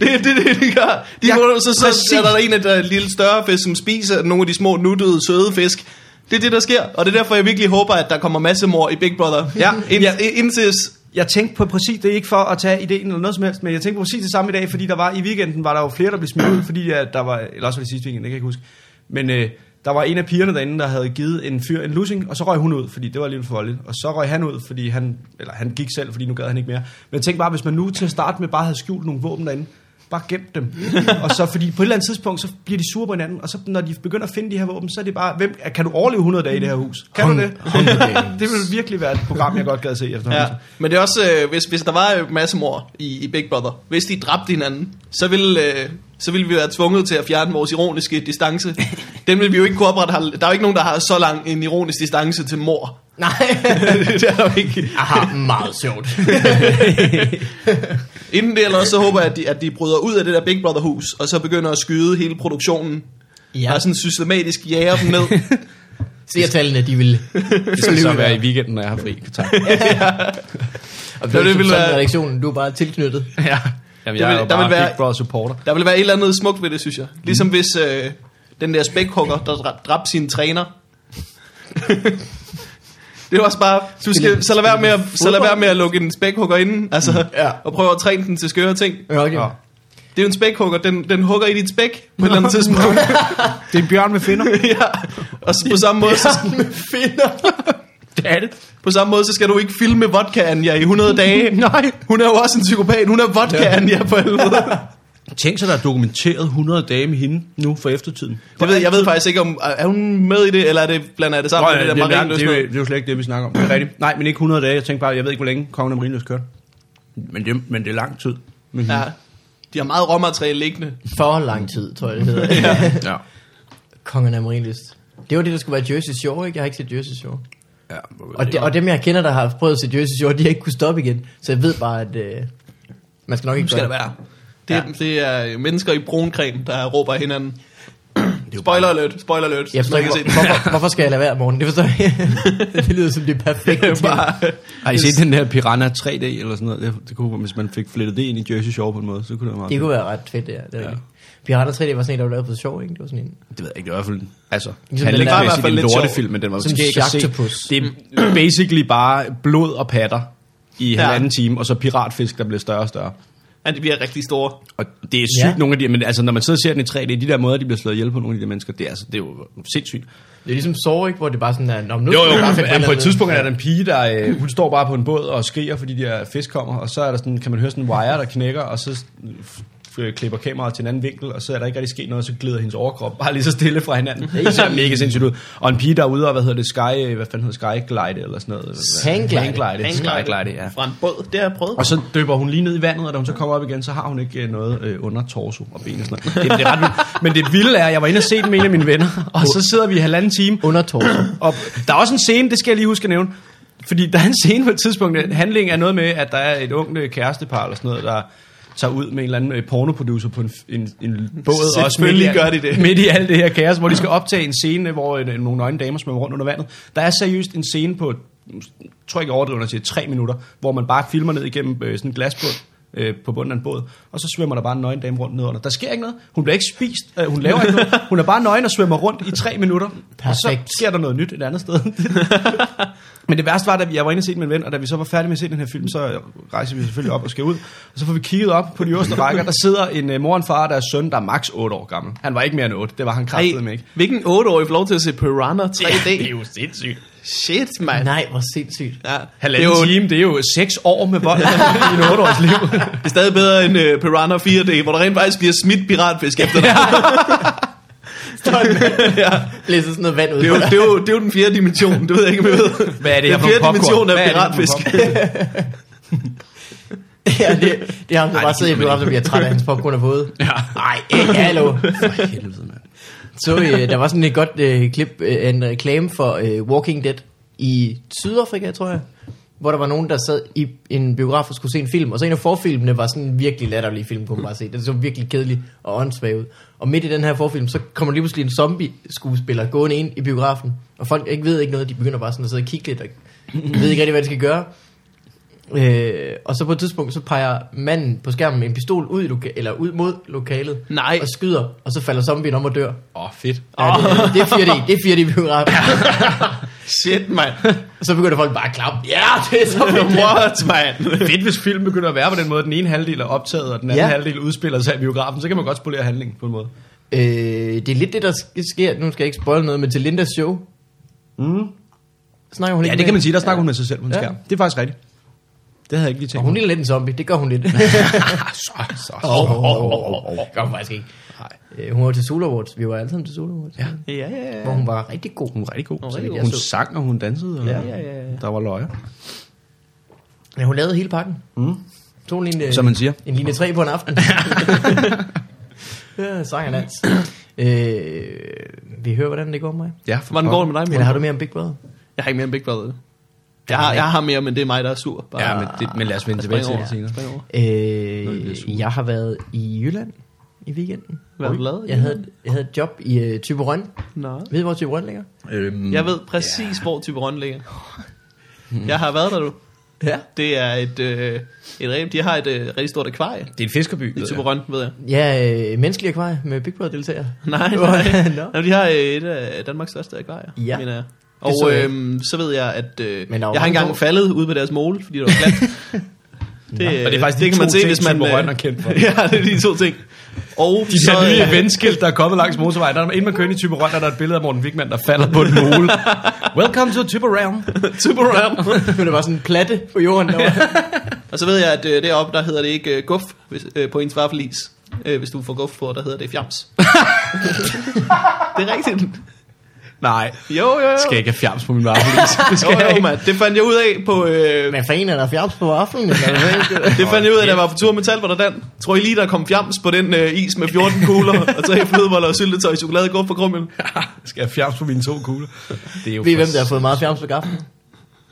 A: det er det, det, de gør. De, ja, så, så, så er der en af de lille større fisk, som spiser nogle af de små, nuttede, søde fisk. Det er det, der sker, og det er derfor, jeg virkelig håber, at der kommer masse mor i Big Brother.
D: Ja.
A: [LAUGHS] Ind, ja. Indtil
D: Jeg tænkte på præcis, det er ikke for at tage ideen eller noget som helst, men jeg tænkte på præcis det samme i dag, fordi der var i weekenden var der jo flere, der blev smidt ud, fordi at der var, eller også var det sidste weekend, det kan jeg ikke huske. Men øh, der var en af pigerne derinde, der havde givet en fyr en lussing, og så røg hun ud, fordi det var lidt for voldeligt. Og så røg han ud, fordi han, eller han gik selv, fordi nu gad han ikke mere. Men jeg tænkte bare, hvis man nu til at starte med bare havde skjult nogle våben derinde, bare gemt dem. og så fordi på et eller andet tidspunkt, så bliver de sure på hinanden, og så når de begynder at finde de her våben, så er det bare, hvem, kan du overleve 100 dage i det her hus? Kan du det? [LAUGHS] det ville virkelig være et program, jeg godt gad se efter.
A: Ja, men det er også, øh, hvis, hvis der var øh, massemord i, i Big Brother, hvis de dræbte hinanden, så ville, øh, så ville vi være tvunget til at fjerne vores ironiske distance. [LAUGHS] Den ville vi jo ikke kunne opretholde. Der er jo ikke nogen, der har så lang en ironisk distance til mor.
C: [LAUGHS] Nej.
A: [LAUGHS] det er der jo ikke.
C: Aha, meget sjovt.
A: Inden det eller også, så håber jeg, at de, at de bryder ud af det der Big Brother-hus, og så begynder at skyde hele produktionen. Ja.
C: Ja.
A: Og sådan systematisk jager dem ned.
C: Seertallene, de vil...
D: Det skal så være i weekenden, når jeg har fri.
A: [LAUGHS]
D: Tak.
C: Og det,
A: ville
C: det vil
A: være-
C: være... redaktionen, du er bare tilknyttet.
D: ja.
A: Der
D: Jamen, jeg
A: vil-
D: er jo
A: der
D: bare
A: vil være-
D: Big Brother supporter.
A: Der ville være et eller andet smukt ved det, synes jeg. Ligesom hvis øh, den der spækhugger, der dra- dræbte sin træner. [LAUGHS] det er også bare, du skal, så lad være med at, så lad være med at lukke en spækhugger inden, altså,
C: Ja.
A: og prøve at træne den til skøre ting.
C: Mm. Ja, okay.
D: Ja.
A: Det er jo en spækhugger, den, den hugger i dit spæk på et eller andet tidspunkt. [LAUGHS]
D: Det er en bjørn med finder.
A: ja. Og så, på samme måde, så,
D: [LAUGHS] det er det.
A: på samme måde, så skal du ikke filme vodka Anja i 100
C: [LAUGHS]
A: dage.
D: Nej.
A: Hun er jo også en psykopat, hun er vodka Anja på helvede.
D: Tænk så, der er dokumenteret 100 dage med hende nu for eftertiden.
A: Jeg ved, jeg ved faktisk ikke, om er hun med i det, eller er det blandt andet sammen
D: Nå,
A: med
D: ja,
A: det der
D: det, er, det,
A: Marienlyst
D: er, jo-
A: noget?
D: det er jo slet ikke det, vi snakker om. Det er rigtigt. Nej, men ikke 100 dage. Jeg tænkte bare, jeg ved ikke, hvor længe kongen af Marinus kørte. Men det, men det er lang tid. Mm-hmm.
A: Ja. De har meget råmateriale liggende.
C: For lang tid, tror jeg,
A: [LAUGHS]
C: det hedder.
D: ja.
C: Kongen af Marienlyst. Det var det, der skulle være Jersey Shore, ikke? Jeg har ikke set Jersey Shore.
D: ja
C: Og, de, og dem, jeg kender, der har prøvet at se Jersey Shore, de har ikke kunne stoppe igen. Så jeg ved bare, at øh, man skal nok ikke
A: skal
C: gøre
A: det være. Det, ja. det er mennesker i brun creme, der råber af hinanden. Spoiler alert, spoiler alert.
C: Jeg forstår
A: Man
C: ikke,
A: kan se
C: hvor,
A: det.
C: hvorfor, hvorfor skal jeg lade være, morgen? Det forstår jeg ikke. [LAUGHS] Det lyder som det
D: [LAUGHS]
C: perfekte ting.
A: Bare, [LAUGHS]
D: Har I set den der Piranha 3D eller sådan noget? Det, det kunne, hvis man fik flettet det ind i Jersey Shore på en måde, så kunne det være meget
C: Det
D: fedt.
C: kunne være ret fedt, det her. Det er ja. Pirater 3D var sådan en, der var lavet på sjov, ikke? Det var sådan en...
D: Det ved jeg ikke, det er i hvert fald... Altså,
C: Ligesom
D: ligesom
C: den der-
A: i hvert
D: handlingsmæssigt
A: fald
D: en
A: lidt sjov.
D: lortefilm, men den var
C: Som
D: måske ikke at se.
C: Sharktopus.
D: Det er basically bare blod og patter i
A: Ja.
D: halvanden time, og så piratfisk, der bliver større og større.
A: at de bliver rigtig store.
D: Og det er sygt,
C: Ja.
D: ja. nogle af de, men altså, når man sidder og ser den i 3D, de der måder, de bliver slået ihjel på nogle af de der mennesker, det er, altså, det er jo sindssygt.
C: Det er ligesom Saw, ikke? Hvor det bare sådan er... Nå, men nu
D: Jo,
C: skal
D: jo,
C: vi bare
D: men
C: finde
D: ja, på et
C: andet."
D: tidspunkt er der en pige, der øh, hun står bare på en båd og skriger, fordi de her fisk kommer, og så er der sådan, kan man høre sådan en wire, der knækker, og så f- f- klipper kameraet til en anden vinkel, og så er der ikke rigtig sket noget, og så glider hendes overkrop bare lige så stille fra hinanden. Det ser mega sindssygt ud. Og en pige, der er ude og, hvad hedder det, sky, øh, hvad fanden hedder skyglide eller sådan noget.
C: Hangglide.
D: Hangglide, skyglide, ja.
A: Fra en båd, det har jeg prøvet.
D: Og så døber hun lige ned i vandet, og da hun så kommer op igen, så har hun ikke øh, noget øh, under torso og ben og sådan noget. Det, det er ret vildt. Men det vilde er, at jeg var inde og se den med en af mine venner, og så sidder vi i halvanden time,
C: Under torso.
D: og der er også en scene, det skal jeg lige huske at nævne. Fordi der er en scene på et tidspunkt, at handlingen er noget med, at der er et ungt øh, kærestepar eller sådan noget, der tager ud med en eller anden øh, pornoproducer på en, en, en båd. og
A: Selvfølgelig
D: midt i-
A: gør de det.
D: Midt i alt det her kaos, hvor de skal optage en scene, hvor en, nogle nøgne damer svømmer rundt under vandet. Der er seriøst en scene på, jeg tror ikke overdrivet, når jeg siger tre minutter, hvor man bare filmer ned igennem øh, sådan en glasbund øh, på bunden af en båd, og så svømmer der bare en nøgen dame rundt nedenunder. Der sker ikke noget. Hun bliver ikke spist. Øh, hun laver ikke noget. Hun er bare nøgen og svømmer rundt i tre minutter. Og
C: Perfekt.
D: så sker der noget nyt et andet [LAUGHS] sted. Men det værste var, at jeg var inde og se den med en ven, og da vi så var færdige med at se den her film, så rejser vi selvfølgelig op og skal ud. Og så får vi kigget op på de øverste rækker, der sidder en uh, mor og en far, der er søn, der er maks 8 år gammel. Han var ikke mere end 8, det var han kraftedeme med ikke.
A: hvilken 8-årig får lov til at se Piranha 3D?
D: det er jo sindssygt.
A: Shit, mand.
C: [CLEARS THROAT] Nej, hvor sindssygt.
A: Ja. Det, er
D: Halvanden
A: jo,
D: time, det er jo 6 år med vold i en 8-års liv.
A: det er stadig bedre end uh, Piranha 4D, hvor der rent faktisk bliver smidt piratfisk efter dig. ja.
C: Blæser sådan noget vand ud.
A: det, er jo, det, er jo, det er jo den fjerde dimension, det ved jeg ikke, om jeg ved.
D: Hvad er det
A: det
D: her
A: er
D: for noget
A: fjerde
D: popcorn?
A: dimension af
D: Hvad er det her for
A: piratfisk.
D: noget
C: [LAUGHS] ja, det, det er ham, der
D: Nej,
C: bare
D: det
C: sidder i
D: gider man
C: biografen og bliver træt af hans popcorn er våde.
D: Ja.
C: Nej, ikke hallo.
D: [LAUGHS] For helvede, mand.
C: Så øh, der var sådan et godt øh, klip, øh, en reklame for øh, Walking Dead i Sydafrika, tror jeg. Hvor der var nogen, der sad i en biograf og skulle se en film. Og så en af forfilmene var sådan en virkelig latterlig film, kunne man bare se. Den så virkelig kedelig og åndssvag ud. Og midt i den her forfilm, så kommer lige pludselig en zombie-skuespiller gående ind i biografen. Og folk ikke ved ikke noget, de begynder bare sådan at sidde og kigge lidt og ved ikke rigtig, hvad de skal gøre. Øh, og så på et tidspunkt, så peger manden på skærmen med en pistol ud, i loka- eller ud mod lokalet.
A: Nej.
C: Og skyder, og så falder zombien om og dør.
D: Åh, oh, fedt.
C: Ja, det, det er 4D, det er 4D biografen.
A: Shit, mand.
C: Og så begynder folk bare at klappe. Ja, det er så fedt.
A: What, mand?
D: Fedt, hvis filmen begynder at være på den måde, at den ene halvdel er optaget, og den anden
C: Ja.
D: ja. halvdel udspiller sig i biografen, så kan man godt spolere handlingen på en måde.
C: Øh, det er lidt det, der sk- sker. Nu skal jeg ikke spoil noget, men til Lindas show. Mm. Snakker hun
D: Ja,
C: ikke
D: det
C: med-
D: kan man sige, der snakker hun med sig selv på en
C: Ja.
D: skærm. Det er faktisk rigtigt. Det havde jeg ikke lige tænkt.
C: Og hun ligner lidt en zombie, det gør hun lidt.
D: så, så, så.
C: Åh, åh, åh, åh, åh. Gør hun faktisk ikke. Øh, hun var til Solo Awards. Vi var alle sammen til Solo Awards. Ja.
A: Ja, ja,
C: Hvor hun var rigtig god.
D: Hun var rigtig god. Hun,
C: rigtig
D: rigtig
C: god.
D: hun sang, og hun dansede, og
C: Ja, ja, ja, ja.
D: der var løjer.
C: Ja, hun lavede hele pakken. Mm. Tog en linje,
D: Som man siger.
C: En linje 3 på en
A: [LAUGHS]
C: aften. ja, sang og dans. Øh, vi hører, hvordan det går med mig.
D: Ja,
A: [LAUGHS]
D: for
A: Hvordan går det med dig,
C: Eller
A: Morten?
C: har du mere om Big Brother?
A: Jeg har ikke mere end Big Brother. Jeg har, jeg har mere, men det er mig, der er sur. Bare.
D: Ja, men, det, men lad os vende tilbage til det senere.
A: senere.
C: Øh, jeg har været i Jylland i weekenden.
A: Hvad har du lavet i
C: Jeg havde, jeg havde et job i uh, Typerøn.
A: Nå.
C: Ved I, hvor Typerøn ligger?
D: Øhm,
A: Jeg ved præcis, yeah. hvor Typerøn ligger.
D: Hmm.
A: Jeg har været der, du.
C: Ja.
A: Det er et, øh, et rem. De har et øh, rigtig stort akvarie
D: det er en fiskerby.
A: i
D: ved jeg.
A: Typerøn, ved jeg. [LAUGHS]
C: Ja, øh, menneskelig akvarie med Big Brother-deltagere.
A: Nej,
C: Hvor-
D: [LAUGHS]
A: nej.
C: [LAUGHS] Nå.
A: Nå, de har øh, et af Danmarks største akvarier,
C: Ja.
A: mener jeg.
C: Det så
A: Og
C: jeg
A: øhm, så ved jeg, at øh,
C: Men der var
A: jeg har
C: mange
A: engang
C: på.
A: faldet ude på deres måle, fordi det var
D: [LAUGHS]
A: glat. det, øh,
D: Og det er faktisk de to ting, Thyborøn er kendt for.
A: [LAUGHS] ja, det er de to ting. Og
D: De der
A: øh,
D: nye venskilt, der er kommet langs motorvejen. Der er, inden man kører ind i Typerøn, er der et billede af Morten Wigman, der falder på en mole. Welcome to Typerøn.
A: Typerøn.
C: det var sådan en platte på jorden. Der
A: [LAUGHS]
C: var.
A: Og så ved jeg, at øh, deroppe, der hedder det ikke øh, guf hvis, øh, på ens vaffelis. Øh, hvis du får guf på, der hedder det [LAUGHS] fjams. det er rigtigt.
D: Nej,
A: Jo, jo, jo.
D: skal jeg ikke have fjams på min varmelis. Det skal jeg
A: jo, jo,
D: ikke.
A: mand. Det fandt jeg ud af på... Øh,
C: Hvad fanden er der fjerns på aftenen?
A: [LAUGHS]
C: Eller hvad?
A: det fandt jeg ud af, da jeg var på tur med Talbot og Dan. Tror I lige, der kom fjams på den øh, is med 14 kugler, og tre flødeboller og syltetøj, chokolade, guf på krummel?
D: Skal jeg have fjams på mine to kugler? Det er jo
C: Ved I, hvem der har fået meget fjerns på gaffelen?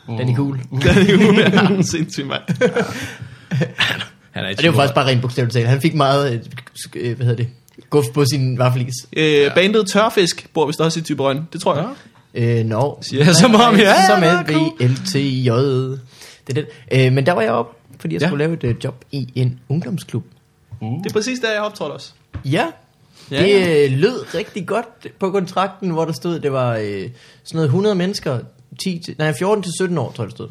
A: Mm.
C: Den er cool.
A: Det er jo [LAUGHS] sindssygt, mand.
D: Han er i
C: Og det var
D: Thyborøn.
C: faktisk bare rent bogstaveligt talt. Han fik meget, øh, sk- øh, hvad hedder det, guf på sin vaffelis.
A: Øh, bandet Tørfisk bor vist også i Typerøn. Det tror jeg.
C: Øh, nå.
D: Siger jeg som om, ja,
C: Som
D: det
C: er
D: er
C: VLTJ. Det er det. Øh, men der var jeg op, fordi jeg
D: Ja.
C: skulle lave et øh, job i en ungdomsklub.
A: Det er præcis der, jeg optrådte også.
C: Ja.
A: Ja,
C: Det øh, lød rigtig godt på kontrakten, hvor der stod, det var øh, sådan noget 100 mennesker, 10, til- nej, 14-17 år, tror jeg, det stod.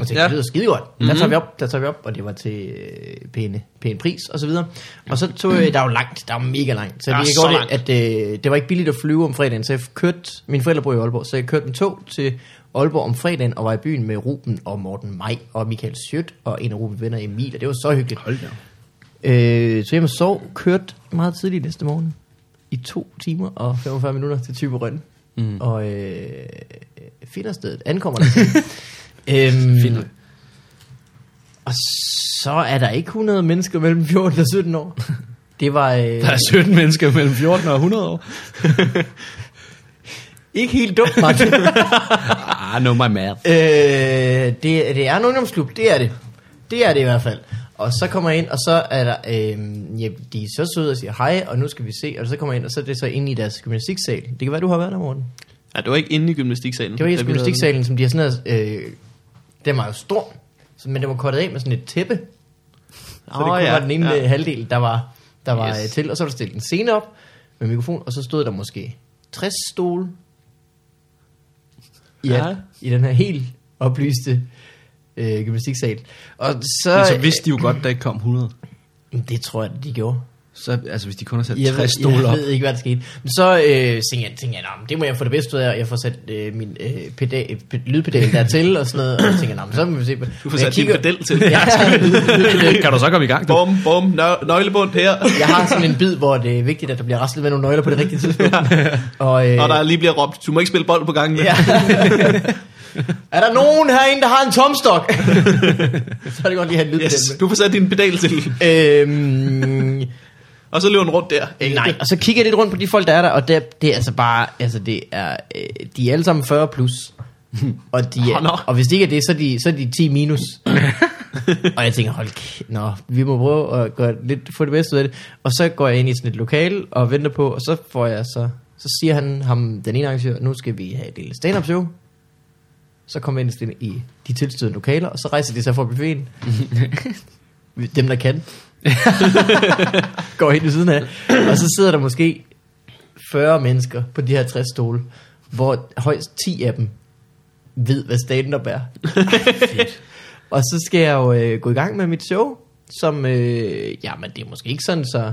C: Og tænkte, ja. det lyder skide godt. Der tager vi op, der tager vi op, og det var til øh, pæne, pæn pris og så videre. Og så tog jeg, der er jo langt, der er jo mega langt. Så
A: Ja,
C: det gik
A: så
C: godt,
A: langt.
C: at øh, det var ikke billigt at flyve om fredagen, så jeg kørte, mine forældre bor i Aalborg, så jeg kørte en tog til Aalborg om fredagen, og var i byen med Ruben og Morten Maj og Michael Schødt og en af Rubens venner Emil, og det var så hyggeligt. Hold øh, så jeg sov, kørte meget tidligt næste morgen i to timer og 45 minutter til Typerøn. Mm. Og øh, finder stedet, ankommer der øhm, finder. Og så er der ikke 100 mennesker mellem 14 og 17 år. Det var øh,
D: Der er 17 mennesker mellem 14 og 100 år.
C: ikke helt dumt, Martin.
D: Ah, no my math.
C: Øh, det, det er en ungdomsklub, det er det. Det er det i hvert fald. Og så kommer jeg ind, og så er der, øh, ja, de er så søde og siger hej, og nu skal vi se. Og så kommer jeg ind, og så er det så inde i deres gymnastiksal. Det kan være, du har været der, Morten.
A: Ja, det var ikke inde i gymnastiksalen.
C: Det var i
A: da vi lavede den.
C: gymnastiksalen, som de har sådan her, øh, den var jo stor, så- men den var kortet af med sådan et tæppe. Så det
A: Åh,
C: kun
A: ja,
C: var den ene
A: ja.
C: ja. halvdel, der var, der var
A: Yes.
C: yes. til, og så var der stillet en scene op med mikrofon, og så stod der måske 60 stole i, ja.
A: Ja.
C: i den her helt oplyste øh, gymnastiksal. Og så, øh,
D: Men så vidste de jo godt, der ikke kom 100.
C: det tror jeg, de gjorde.
D: Så, altså, hvis de kun har sat
C: Jeg,
D: 60
C: ved,
D: stole
C: jeg
D: op.
C: ved ikke, hvad der skete. Men så øh, tænkte jeg, tænkte jeg "Nå, men det må jeg få det bedste ud af, og jeg får sat øh, min øh, pedal, øh, lydpedal dertil og sådan noget, og så tænkte jeg, "Nå, men så må vi se.
A: Du får sat din pedel til.
C: Ja, lydpedal.
D: Kan du så komme i gang? Du?
A: Bum, bum, nø- nøglebund her.
C: [LAUGHS] jeg har sådan en bid, hvor det er vigtigt, at der bliver raslet med nogle nøgler på det rigtige tidspunkt. Og, øh,
A: Og der lige bliver råbt, du må ikke spille bold på gangen. [LAUGHS]
C: ja. er der nogen herinde, der har en tomstok? [LAUGHS] så er det godt lige at have en lydpedal
A: Yes,
C: med.
A: du får sat din pedal til.
C: Øhm,
A: Og så løber den rundt der.
C: Øh, nej, og så kigger jeg lidt rundt på de folk, der er der, og det, det er altså bare, altså det er, øh, de er alle sammen 40
A: [LAUGHS]
C: plus. Og, de
A: Nå,
C: er,
A: nå.
C: og hvis det ikke er det, så er de, så er de
A: [LAUGHS]
C: 10 minus. og jeg tænker, hold kæ- nå, vi må prøve at gøre lidt, få det bedste ud af det. Og så går jeg ind i sådan et lokal og venter på, og så får jeg så, så siger han ham, den ene arrangør, nu skal vi have et lille stand-up show. Så kommer jeg ind i de tilstødende lokaler, og så rejser de sig fra buffeten.
A: [LAUGHS]
C: Dem, der kan [LAUGHS] går ind ved siden af. Og så sidder der måske 40 mennesker på de her 60 stole, hvor højst 10 af dem ved, hvad stand-up er. [LAUGHS] og så skal jeg jo øh, gå i gang med mit show, som, øh, jamen det er måske ikke sådan så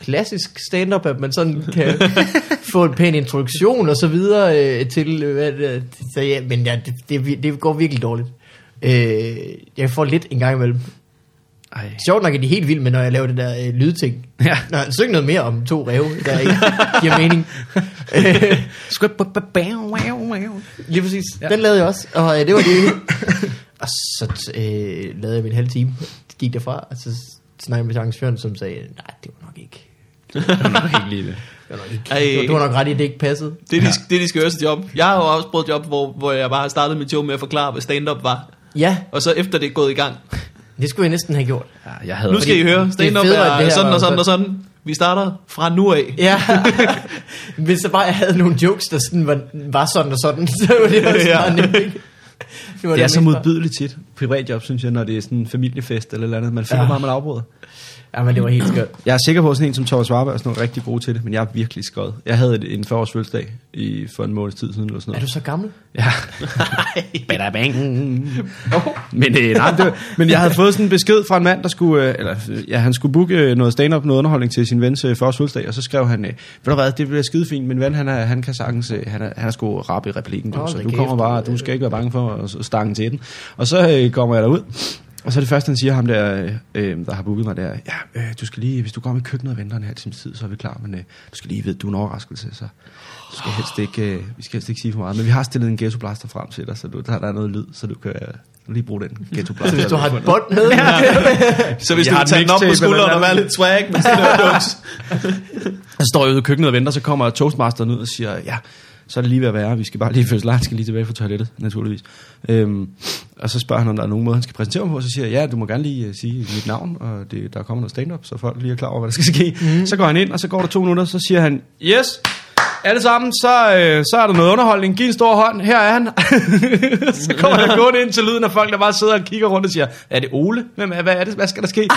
C: klassisk stand-up, at man sådan kan få en pæn introduktion og så videre øh, til, øh, hvad det er. så ja, men ja, det, det, det går virkelig dårligt. Øh, jeg får lidt en gang imellem.
D: Ej.
C: Sjovt nok er de helt vilde med, når jeg laver det der øh, lydting. Ja. Nå, syng noget mere om to ræve, der ikke giver mening. Øh, Lige præcis. Ja. Den lavede jeg også, og øh, det var det. [LAUGHS] og så øh, lavede jeg min halve time. Det gik derfra, og så snakkede jeg med Jens Fjørn, som sagde, nej, det var nok ikke. Det var nok ikke.
A: Ej.
C: Det var, det var nok ret i, at det ikke passede.
A: Det er, de, det er de skøreste job. Jeg har jo også prøvet et job, hvor, hvor jeg bare har startet mit job med at forklare, hvad stand-up var.
C: Ja,
A: Og så efter det er gået i gang.
C: det skulle jeg næsten have gjort.
D: Ja, jeg havde
A: Nu skal I høre, stand-up
C: federe, at det
A: er
C: her
A: sådan
C: var-
A: og sådan og sådan. Vi starter fra nu af.
C: Ja, [LAUGHS] hvis jeg bare havde nogle jokes, der sådan var, var sådan og sådan, [LAUGHS] så var det også
A: Ja.
C: ja. nemt. ikke? var
D: det er
C: nemt,
D: så
C: ikke?
D: modbydeligt tit. Privatjob, synes jeg, når det er sådan en familiefest eller et eller andet. Man føler
C: Ja.
D: ja. bare, man afbryder.
C: Ja, men det var helt skørt.
D: Jeg er sikker på, at sådan en som Thomas Warberg er sådan noget rigtig god til det, men jeg er virkelig skød. Jeg havde et- en 40-års fødselsdag i, for en måneds tid siden eller sådan
C: Er
D: noget.
C: du så gammel?
D: [LAUGHS] Ja. Bada bang. Men, øh, nej, det var, men jeg havde fået sådan en besked fra en mand, der skulle, øh, eller, øh, ja, han skulle booke øh, noget stand-up, noget underholdning til sin vens øh, første fødselsdag, og så skrev han, øh, ved du hvad, det bliver skide fint, min ven, han, er, han kan sagtens, øh, han, er, han er sgu rap i replikken, du,
C: Hold
D: så
C: da
D: du
C: kæft,
D: kommer bare,
C: du, øh.
D: du skal ikke være bange for at s- stange til den. Og så øh, kommer jeg derud, og så er det første, han siger ham der, øh, øh, der har booket mig der, ja, øh, du skal lige, hvis du kommer i køkkenet og venter en halv times tid, så er vi klar, men øh, du skal lige vide, du er en overraskelse, så du skal helst ikke, øh, vi skal helst ikke sige for meget, men vi har stillet en ghettoblaster frem til dig, så du, der, der er noget lyd, så du kan øh, lige bruge den ghettoblaster.
C: Så
A: [LAUGHS]
C: hvis du har et bånd med,
A: Så hvis
D: Jeg
A: du
D: har
A: vil tage
D: en
A: den op på
D: mixtape eller
A: skulderen og
D: noget
A: være lidt swag, men så er
C: [LAUGHS]
A: det
D: Jeg står ude i køkkenet og venter, så kommer toastmasteren ud og siger, ja, så er det lige ved at være, vi skal bare lige fødsel, han skal lige tilbage fra toilettet, naturligvis. Øhm, og så spørger han, om der er nogen måde, han skal præsentere mig på, og så siger jeg, ja, du må gerne lige øh, sige mit navn, og det, der kommer noget stand-up, så folk lige er klar over, hvad der skal ske. Mm. Så går han ind, og så går der to minutter, så siger han, yes, alle sammen, så, øh, så er der noget underholdning, giv en stor hånd, her er han. [LAUGHS] så kommer han gående ind til lyden af folk, der bare sidder og kigger rundt og siger, er det Ole? Hvem er, hvad, er det? hvad skal der
C: [LAUGHS]
D: ske?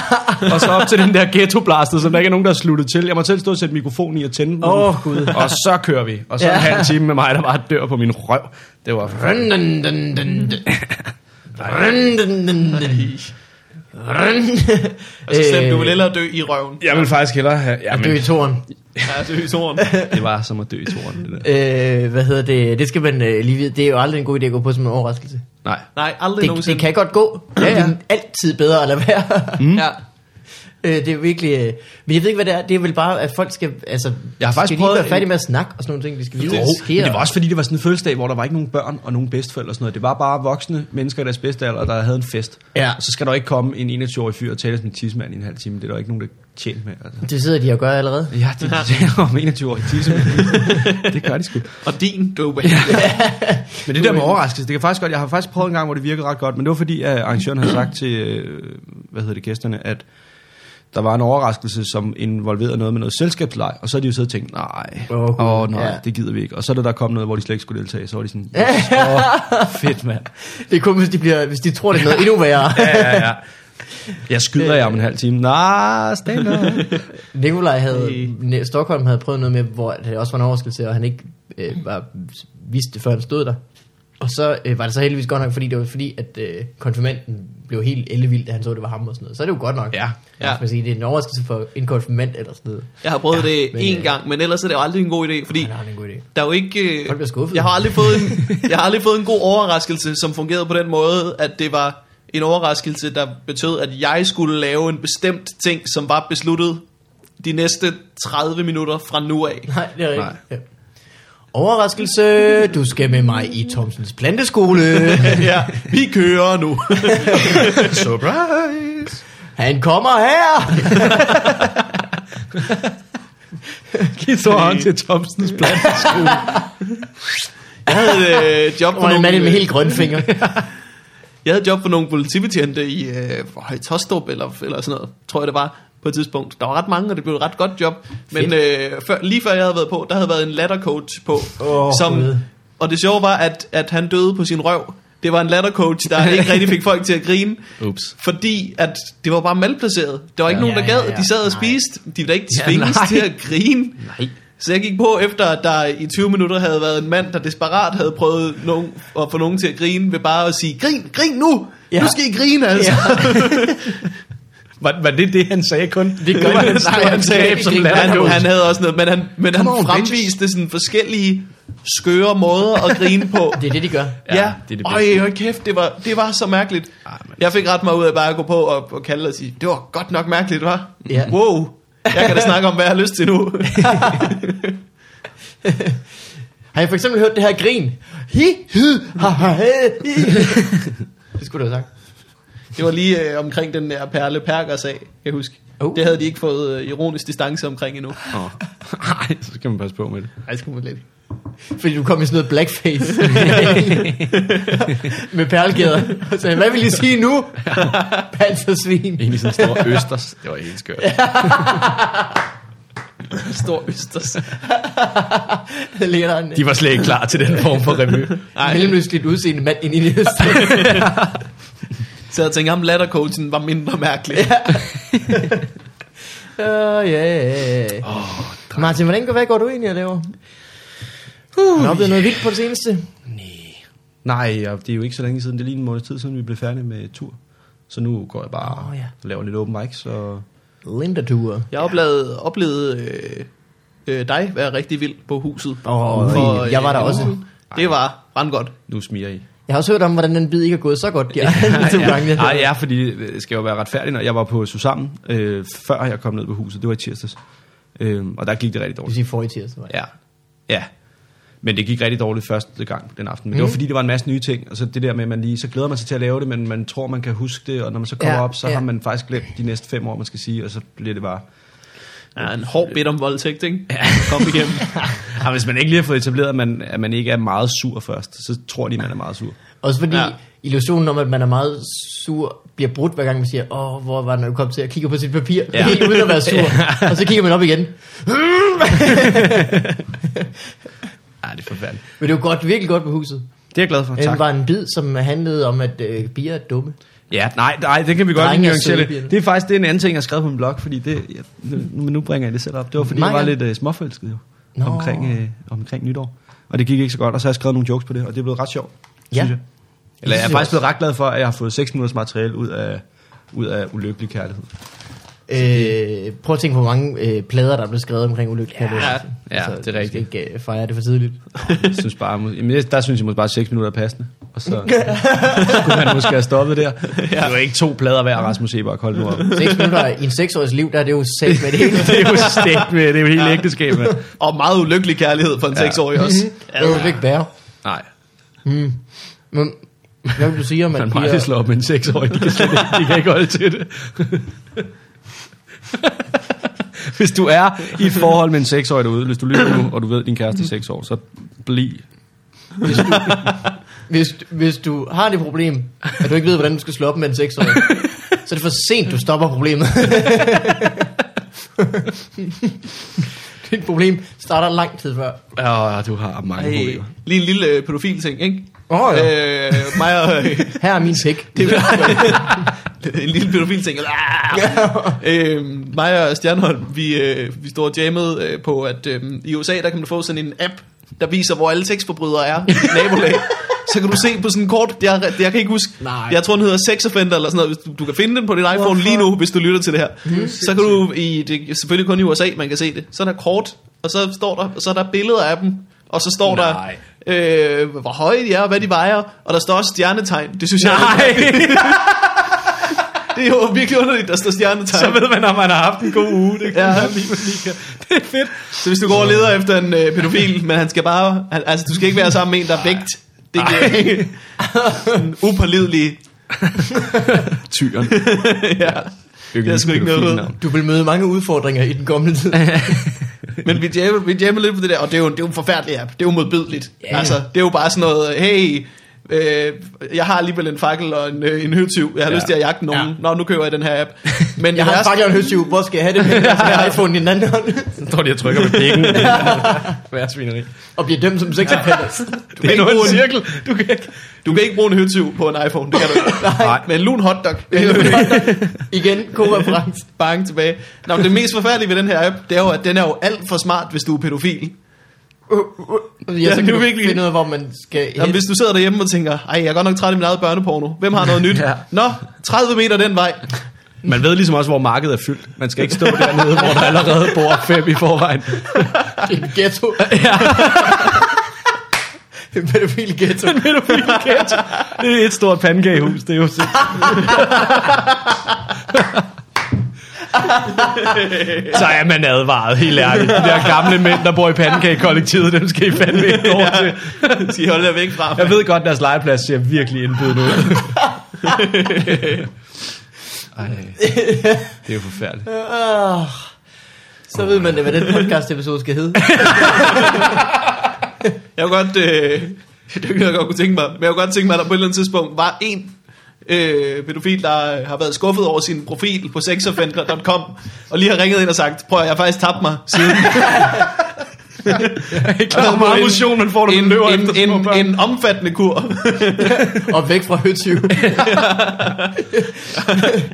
D: og så op til den der ghettoblastet, som der ikke er nogen, der er sluttet til. Jeg må selv stå og sætte mikrofonen i og tænde den.
C: Åh, Gud.
D: Og så kører vi. Og så
C: Ja.
D: en halv time med mig, der bare dør på min røv. Det var
C: Dun, dun, dun, dun, dun.
A: Altså, Steffen, du
C: Øh.
A: vil hellere dø i røven.
D: Jeg vil faktisk hellere have...
C: At
D: Jamen,
C: dø i toren.
A: Ja, dø i solen.
D: det var som at dø i toren, det der.
C: Øh, hvad hedder det? Det skal man øh, lige vide. Det er jo aldrig en god idé at gå på som en overraskelse.
D: Nej.
A: Nej, aldrig
C: Det,
A: nogensinde.
C: det kan godt gå. Ja, ja. Det er altid bedre at lade være. Mm.
A: Ja.
C: [LAUGHS] Øh, det er virkelig... Øh, men jeg ved ikke, hvad det er. Det er vel bare, at folk skal... Altså,
D: Jeg har faktisk
C: skal lige
D: prøvet
C: være færdige
D: en-
C: med at snakke og sådan nogle ting. De skal vide,
D: Jo,
C: hvad der
D: men
C: sker.
D: det var også fordi, det var sådan en fødselsdag, hvor der var ikke nogen børn og nogen bedsteforældre og sådan noget. Det var bare voksne mennesker i deres bedste alder, der havde en fest.
C: Ja.
D: Så skal der ikke komme en 21-årig fyr og tale som en tidsmand i en halv time. Det er der ikke nogen, der er tjent med. Altså.
C: Det sidder de og gør
D: [LAUGHS]
C: allerede.
D: Ja, det er om 21-årig tidsmand. [LAUGHS] det gør de sgu.
A: Og din døbe. Ja.
D: Men det der med overraskelse, det kan faktisk godt, jeg har faktisk prøvet en gang, hvor det virkede ret godt, men det var fordi, at arrangøren havde sagt til, øh, hvad hedder det, gæsterne, at der var en overraskelse, som involverede noget med noget selskabsleg, og så havde de jo siddet og tænkt, nej,
C: Åh,
D: åh
C: gud,
D: oh, oh, nej,
C: ja.
D: ja. det gider vi ikke. Og så er der der kom noget, hvor de slet ikke skulle deltage, så var de sådan, yes, oh, fedt mand.
C: Det er kun, hvis de, bliver, hvis de tror, det er noget endnu værre.
D: Ja, ja, ja. Jeg skyder jer om en halv time. Nej, stand up.
C: Nikolaj havde, ne, Stockholm havde prøvet noget med, hvor det også var en overraskelse, og han ikke
A: Mm.
C: øh, var, vidste det, før han stod der. Og så øh, var det så heldigvis godt nok, fordi det var fordi, at øh, konfirmanden blev helt ellevild, da han så, det var ham og sådan noget. Så er det jo godt nok.
D: Ja.
C: ja. Man sige, det er en overraskelse for en konfirmand eller sådan noget.
A: Jeg har prøvet ja, det
C: men,
A: en
C: øh,
A: gang, men ellers er det jo aldrig en god idé, fordi
C: Nej, det er en god idé.
A: der er jo ikke... øh,
C: Folk bliver skuffet.
A: Jeg har, aldrig fået en, jeg har aldrig fået en god overraskelse, som fungerede på den måde, at det var en overraskelse, der betød, at jeg skulle lave en bestemt ting, som var besluttet de næste 30 minutter fra nu af. [LAUGHS]
C: Nej, det er rigtigt. Ja. Overraskelse, du skal med mig i Thomsens
A: [LAUGHS]
C: planteskole.
A: ja, vi kører nu.
D: Surprise.
C: Han kommer her!
D: Giv [LAUGHS] så hånd til Thomsens plan.
A: Jeg havde øh, job
C: Og
A: for
C: en mand med
A: nogle,
C: helt grønne fingre.
A: jeg havde job for nogle politibetjente i øh, Højtostrup eller, eller sådan noget, tror jeg det var på et tidspunkt. Der var ret mange, og det blev et ret godt job. Men øh, før, lige før jeg havde været på, der havde været en lattercoach på.
C: Åh, Gud.
A: og det sjove var, at, at han døde på sin røv. Det var en lattercoach, der ikke rigtig fik folk til at
C: [LAUGHS]
A: grine.
D: Ups.
A: Fordi at det var bare malplaceret. Der var ikke
C: Ja.
A: nogen, der
C: Ja,
A: gad.
C: ja, ja.
A: De sad og
C: Nej.
A: spiste. De ville da ikke
D: Ja,
A: tvinges
D: nej.
A: til at grine.
D: Nej.
A: Så jeg gik på efter, at der i 20 minutter havde været en mand, der desperat havde prøvet nogen, at få nogen til at grine, ved bare at sige, grin, grin nu!
C: Ja.
A: [LAUGHS] Ja. Nu skal I grine, altså! Ja.
D: Var, var det det, han sagde kun?
C: Det [LAUGHS] gør
D: var
C: det.
D: hans
A: Nej, han sagde,
C: Grine, grine,
A: han,
C: grine.
A: han havde også noget, men han, men han
D: Come on, bitches.
A: fremviste sådan forskellige skøre måder at grine på.
C: Det er det, de gør.
A: Ja, ja
D: det er det
A: Øj,
D: bedste.
A: øj, kæft, det var, det var så mærkeligt.
D: Ej, men-
A: Jeg fik ret meget ud af bare at gå på og, og kalde og sige, det var godt nok mærkeligt, var.
C: Ja.
A: Wow, jeg kan da snakke om, hvad jeg har lyst til nu.
C: Har I for eksempel hørt det her grin? Hi, hy, ha, ha, he, hi. [LAUGHS] Det skulle du have sagt.
A: Det var lige øh, omkring den der Perle Perker-sag, kan jeg huske.
C: Oh.
A: Oh. Det havde de ikke fået øh, ironisk distance omkring endnu.
D: Åh. Nej, så skal man passe på med det.
A: Ej, det skulle man lidt.
C: Fordi du kom i sådan noget [LAUGHS] blackface. Med perlgæder. Så sagde, hvad vil I sige [LAUGHS] nu? Pansersvin.
D: Egentlig sådan en stor østers. Det var helt [LAUGHS] skørt.
A: Stor østers.
C: Der ligger der en
D: De var slet ikke klar til den form for revy.
C: en mellemøstligt udseende mand ind i det [LAUGHS]
A: Så jeg tænkte, ham lattercoachen var mindre mærkelig. Ja.
C: Ja, ja. Martin, hvordan går, hvad går du egentlig og laver? Har du oplevet noget vildt på det seneste?
D: Nej, og det er jo ikke så længe siden. Det er lige en måned tid siden, vi blev færdige med tur. Så nu går jeg bare
C: Åh, ja.
D: og laver lidt open mic, så...
C: Linda Tour.
A: Jeg oplevede, oplevede øh, øh, dig være rigtig vild på huset.
C: Åh, jeg var der
A: en
C: også.
A: uge siden. Det var brandgodt.
D: Nu smiger I.
C: Jeg har også hørt om, hvordan den bid ikke er gået så godt. [LAUGHS] Ja, to gange.
D: Nej, [LAUGHS] ja, fordi øh, det skal jo være retfærdigt, når jeg var på Susanne, øh, før jeg kom ned på huset. Det var i tirsdags. Øh, og der gik det rigtig
C: Det vil
D: dårligt.
C: sige forrige tirsdag. var jeg.
D: Ja. Ja. Men det gik rigtig dårligt første gang den aften. Men mm. det var fordi, det var en masse nye ting. Og så det der med, at man lige, så glæder man sig til at lave det, men man tror, man kan huske det. Og når man så kommer
C: Ja,
D: ja, op, så
C: ja.
D: ja. har man faktisk glemt de næste fem år, man skal sige. Og så bliver det bare...
A: Ja, en hård bit om voldtægt, ikke? Ja. Kom
D: [LAUGHS]
A: igennem.
D: Ja, hvis man ikke lige har fået etableret, at man, at man ikke er meget sur først, så tror de, man er meget sur.
C: Også fordi ja.
A: Ja.
C: illusionen om, at man er meget sur, bliver brudt hver gang man siger, åh, hvor var den, når du kom til at kigge på sit papir, ja.
D: Ja.
C: helt uden at være
D: [LAUGHS]
C: sur. Og så kigger man op igen.
D: Ja, det er forfærdeligt.
C: Men det var godt, virkelig godt på huset.
D: Det er jeg glad for,
C: Det
D: tak.
C: var en bid, som handlede om, at øh, bier er dumme.
D: Ja, nej, nej, det
B: [LAUGHS]
D: kan vi godt
C: Drenge
D: lige
C: er
D: nuancere
C: søde,
D: lidt.
C: piger.
D: Det er faktisk det er en anden ting, jeg har skrevet på min blog, fordi det, jeg, nu, nu bringer jeg det selv op. Det var fordi,
C: Nej,
D: jeg var
C: ja.
D: lidt uh, småforelsket jo,
C: Nå.
D: øh, omkring, uh, omkring nytår. Og det gik ikke så godt, og så har jeg skrevet nogle jokes på det, og det er blevet ret sjovt,
C: Ja.
D: synes jeg. Eller jeg er
C: synes
D: faktisk
C: jeg
D: blevet ret glad for, at jeg har fået 6 minutters materiale ud af, ud af ulykkelig kærlighed.
C: Øh, prøv at tænke på, hvor mange øh, plader, der er blevet skrevet omkring ulykkelig ja,
D: ja, det er
C: Du skal ikke øh, fejre det for tidligt.
D: Jeg synes bare, må- jamen, jeg- der synes jeg måske bare, at 6 minutter er passende. Og [LAUGHS] så skulle man måske have stoppet der. Det var ikke to plader hver, Rasmus Ebak. Hold nu op.
C: 6 minutter i en 6-årigs liv, der er det jo sæt med det hele.
D: Det er jo stegt med, det er jo hele ægteskabet.
A: Og meget ulykkelig kærlighed for en
D: [LAUGHS] Ja.
A: seksårig også.
C: Det er jo ikke værre.
D: Nej,
C: Men hvad vil du sige, om
D: [LAUGHS] man
C: at
D: må aldrig slå
C: piger...
D: op med en 6-årig. De kan, slet ikke, de kan ikke holde til det. Hvis du er i et forhold med en 6-årig derude, hvis du lytter nu, og du ved, at din kæreste er 6 år, så bliv.
C: Hvis du, hvis, hvis du har det problem, at du ikke ved, hvordan du skal slå op med en 6-årig, så er det for sent, du stopper problemet. [LAUGHS] Dit problem starter lang tid før.
D: Ja, du har mange
A: Hey. Lige en lille øh, pædofil-ting, ikke?
C: Åh oh, ja,
A: Øh, mig og, [LAUGHS] øh,
C: her er min pik.
A: [LAUGHS] det
C: [LAUGHS]
A: er [LAUGHS] en lille pædofil-ting. Øh, mig og Stjernholm, vi, øh, vi stod og jammede øh, på, at øh, i USA, der kan man få sådan en app, der viser, hvor alle sexforbrydere er
D: [LAUGHS]
A: i dit nabolag. Så kan du se på sådan en kort, jeg, jeg kan ikke huske,
C: Nej.
A: jeg tror den hedder Sex Offender eller sådan noget, hvis du, du kan finde den på din iPhone lige nu, hvis du lytter til det her. Så kan du, i, det er selvfølgelig kun i USA, man kan se det, så er der kort, og så står der, og så er der billeder af dem, og så står
D: Nej.
A: der, øh, hvor høje de er, og hvad de vejer, og der står også stjernetegn, det synes jeg
D: Nej,
A: det er jo virkelig underligt, der står stjernetegn.
D: så ved man, om man har haft en god uge. Det,
A: Ja.
D: ja. lige, lige, kan- det er fedt.
A: Så hvis du går og leder efter en øh, pædofil, men han skal bare... Han, altså, du skal ikke være sammen med en, der er vægt. Det er ikke en upålidelig...
D: Tyren.
A: [LAUGHS] ja. Det er sgu ikke noget ved.
C: Du vil møde mange udfordringer i den
A: [LAUGHS]
C: kommende tid.
A: Men vi jammer, vi jammer lidt på det der, og det er jo, det er jo en forfærdelig app. Det er jo modbydeligt. Yeah. Altså, det er jo bare sådan noget, hey, øh, jeg har alligevel en fakkel og en, øh, en høtyv. Jeg har ja.
D: Ja.
A: lyst til at jagte nogen.
C: Ja.
A: Nå, nu køber jeg den
C: [LAUGHS]
A: her app. Men
C: Jeg
A: det
C: har
A: værste-
C: faktisk en høstyv, hvor skal jeg have det med? Jeg har en iPhone i den anden hånd.
D: Så står de og trykker med pikken. Hver svineri.
C: Og bliver dømt som sexopender.
A: du
D: Det
A: kan
D: er
A: ikke
D: noget
A: bruge
D: en
A: en,
D: cirkel. Du kan ikke...
A: du kan ikke bruge en høtyv på en iPhone. Det kan du
C: [LAUGHS]
A: ikke.
D: Nej.
A: Men en lun hotdog. Det
C: En
A: kan du
C: lun
A: ikke.
C: Igen, god reference.
A: Bang tilbage. Nå, men det mest forfærdelige ved den her app, det er jo, at den er jo alt for smart, hvis du er pædofil.
C: Ja,
A: det
C: så kan
A: er
C: du
A: virkelig-
C: finde ud af, hvor man skal hen.
A: Jamen, hvis du sidder derhjemme og tænker, ej, jeg er godt nok træt af min eget børneporno. Hvem har noget nyt?
D: Ja.
A: Nå, 30 meter den vej.
D: Man ved ligesom også, hvor markedet er fyldt. Man skal ikke stå dernede, hvor der allerede bor fem i forvejen.
C: Det er en
A: [LAUGHS]
C: ghetto. [LAUGHS] en pædofil ghetto.
D: Det er et stort pandekagehus, det er jo [LAUGHS] sikkert. Så er man advaret, helt ærligt. De der gamle mænd, der bor i pandekagekollektivet, dem skal I fandme ikke over til.
A: De holder dig væk fra.
D: Jeg ved godt, deres legeplads ser virkelig indbydende ud. [LAUGHS] Ej, det er jo forfærdeligt.
C: Ah, så ved man det, hvad den podcast episode skal hedde.
A: Jeg kunne godt, øh, [LAUGHS] det er jo ikke noget, jeg godt kunne tænke mig, men jeg kunne godt tænke mig, at der på et eller andet tidspunkt var en øh, pædofil, der øh, har været skuffet over sin profil på sexoffender.com, og lige har ringet ind og sagt, prøv at jeg har faktisk tabt mig siden.
D: Ikke klar, hvor [LAUGHS] meget motion man får, når man
A: en,
D: løber
A: en,
D: efter små
A: en,
D: børn.
A: en, en omfattende kur.
C: Og væk fra høtyv.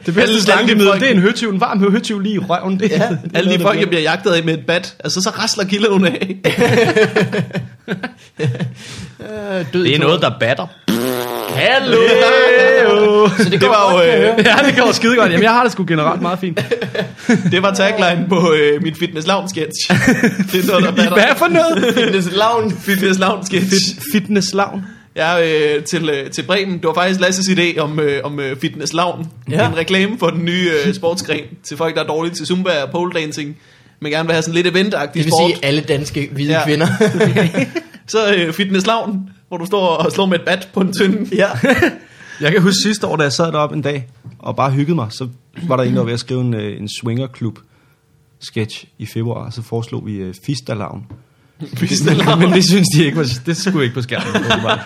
D: Det bedste slankemiddel, det er en høtyv. En varm høtyv lige i røven. Det,
C: Ja.
A: Alle de folk, jeg bliver jagtet af med et bat, altså så rasler kiloen af.
C: Øh, død i to-
D: der batter.
C: Hallo! Så det,
A: Det var jo, øh,
D: Ja, det går skide godt. Jamen, jeg har det sgu generelt meget fint.
A: Det var tagline på øh, min Fitness Lounge
C: [LAUGHS]
A: sketch. Det er noget, der batter.
D: Hvad for [LAUGHS] noget?
C: Fitness Lavn.
A: Fitness Lounge sketch.
D: Fitness lavn.
A: Ja, øh, til, øh, til Bremen. Det var faktisk Lasses idé om, øh, om øh, Fitness Lounge.
C: Ja.
A: Ja. En reklame for den nye øh, sportsgren til folk, der er dårlige til Zumba og pole dancing. Men gerne vil have sådan lidt eventagtig
C: Det vil
A: sport.
C: sige alle danske hvide
A: Ja. [LAUGHS]
C: kvinder.
A: Så øh, Fitness Lounge, hvor du står og slår med et bat på en tynde.
D: [LAUGHS]
C: ja.
D: Jeg kan huske sidste år, da jeg sad deroppe en dag og bare hyggede mig, så var der en, der var ved at skrive en, øh, en swingerklub sketch i februar, og så foreslog vi øh, Fista Lavn.
A: Fitness
D: Men,
A: Lounge.
D: men, det synes de ikke var, det skulle ikke på [LAUGHS] skærmen. åbenbart.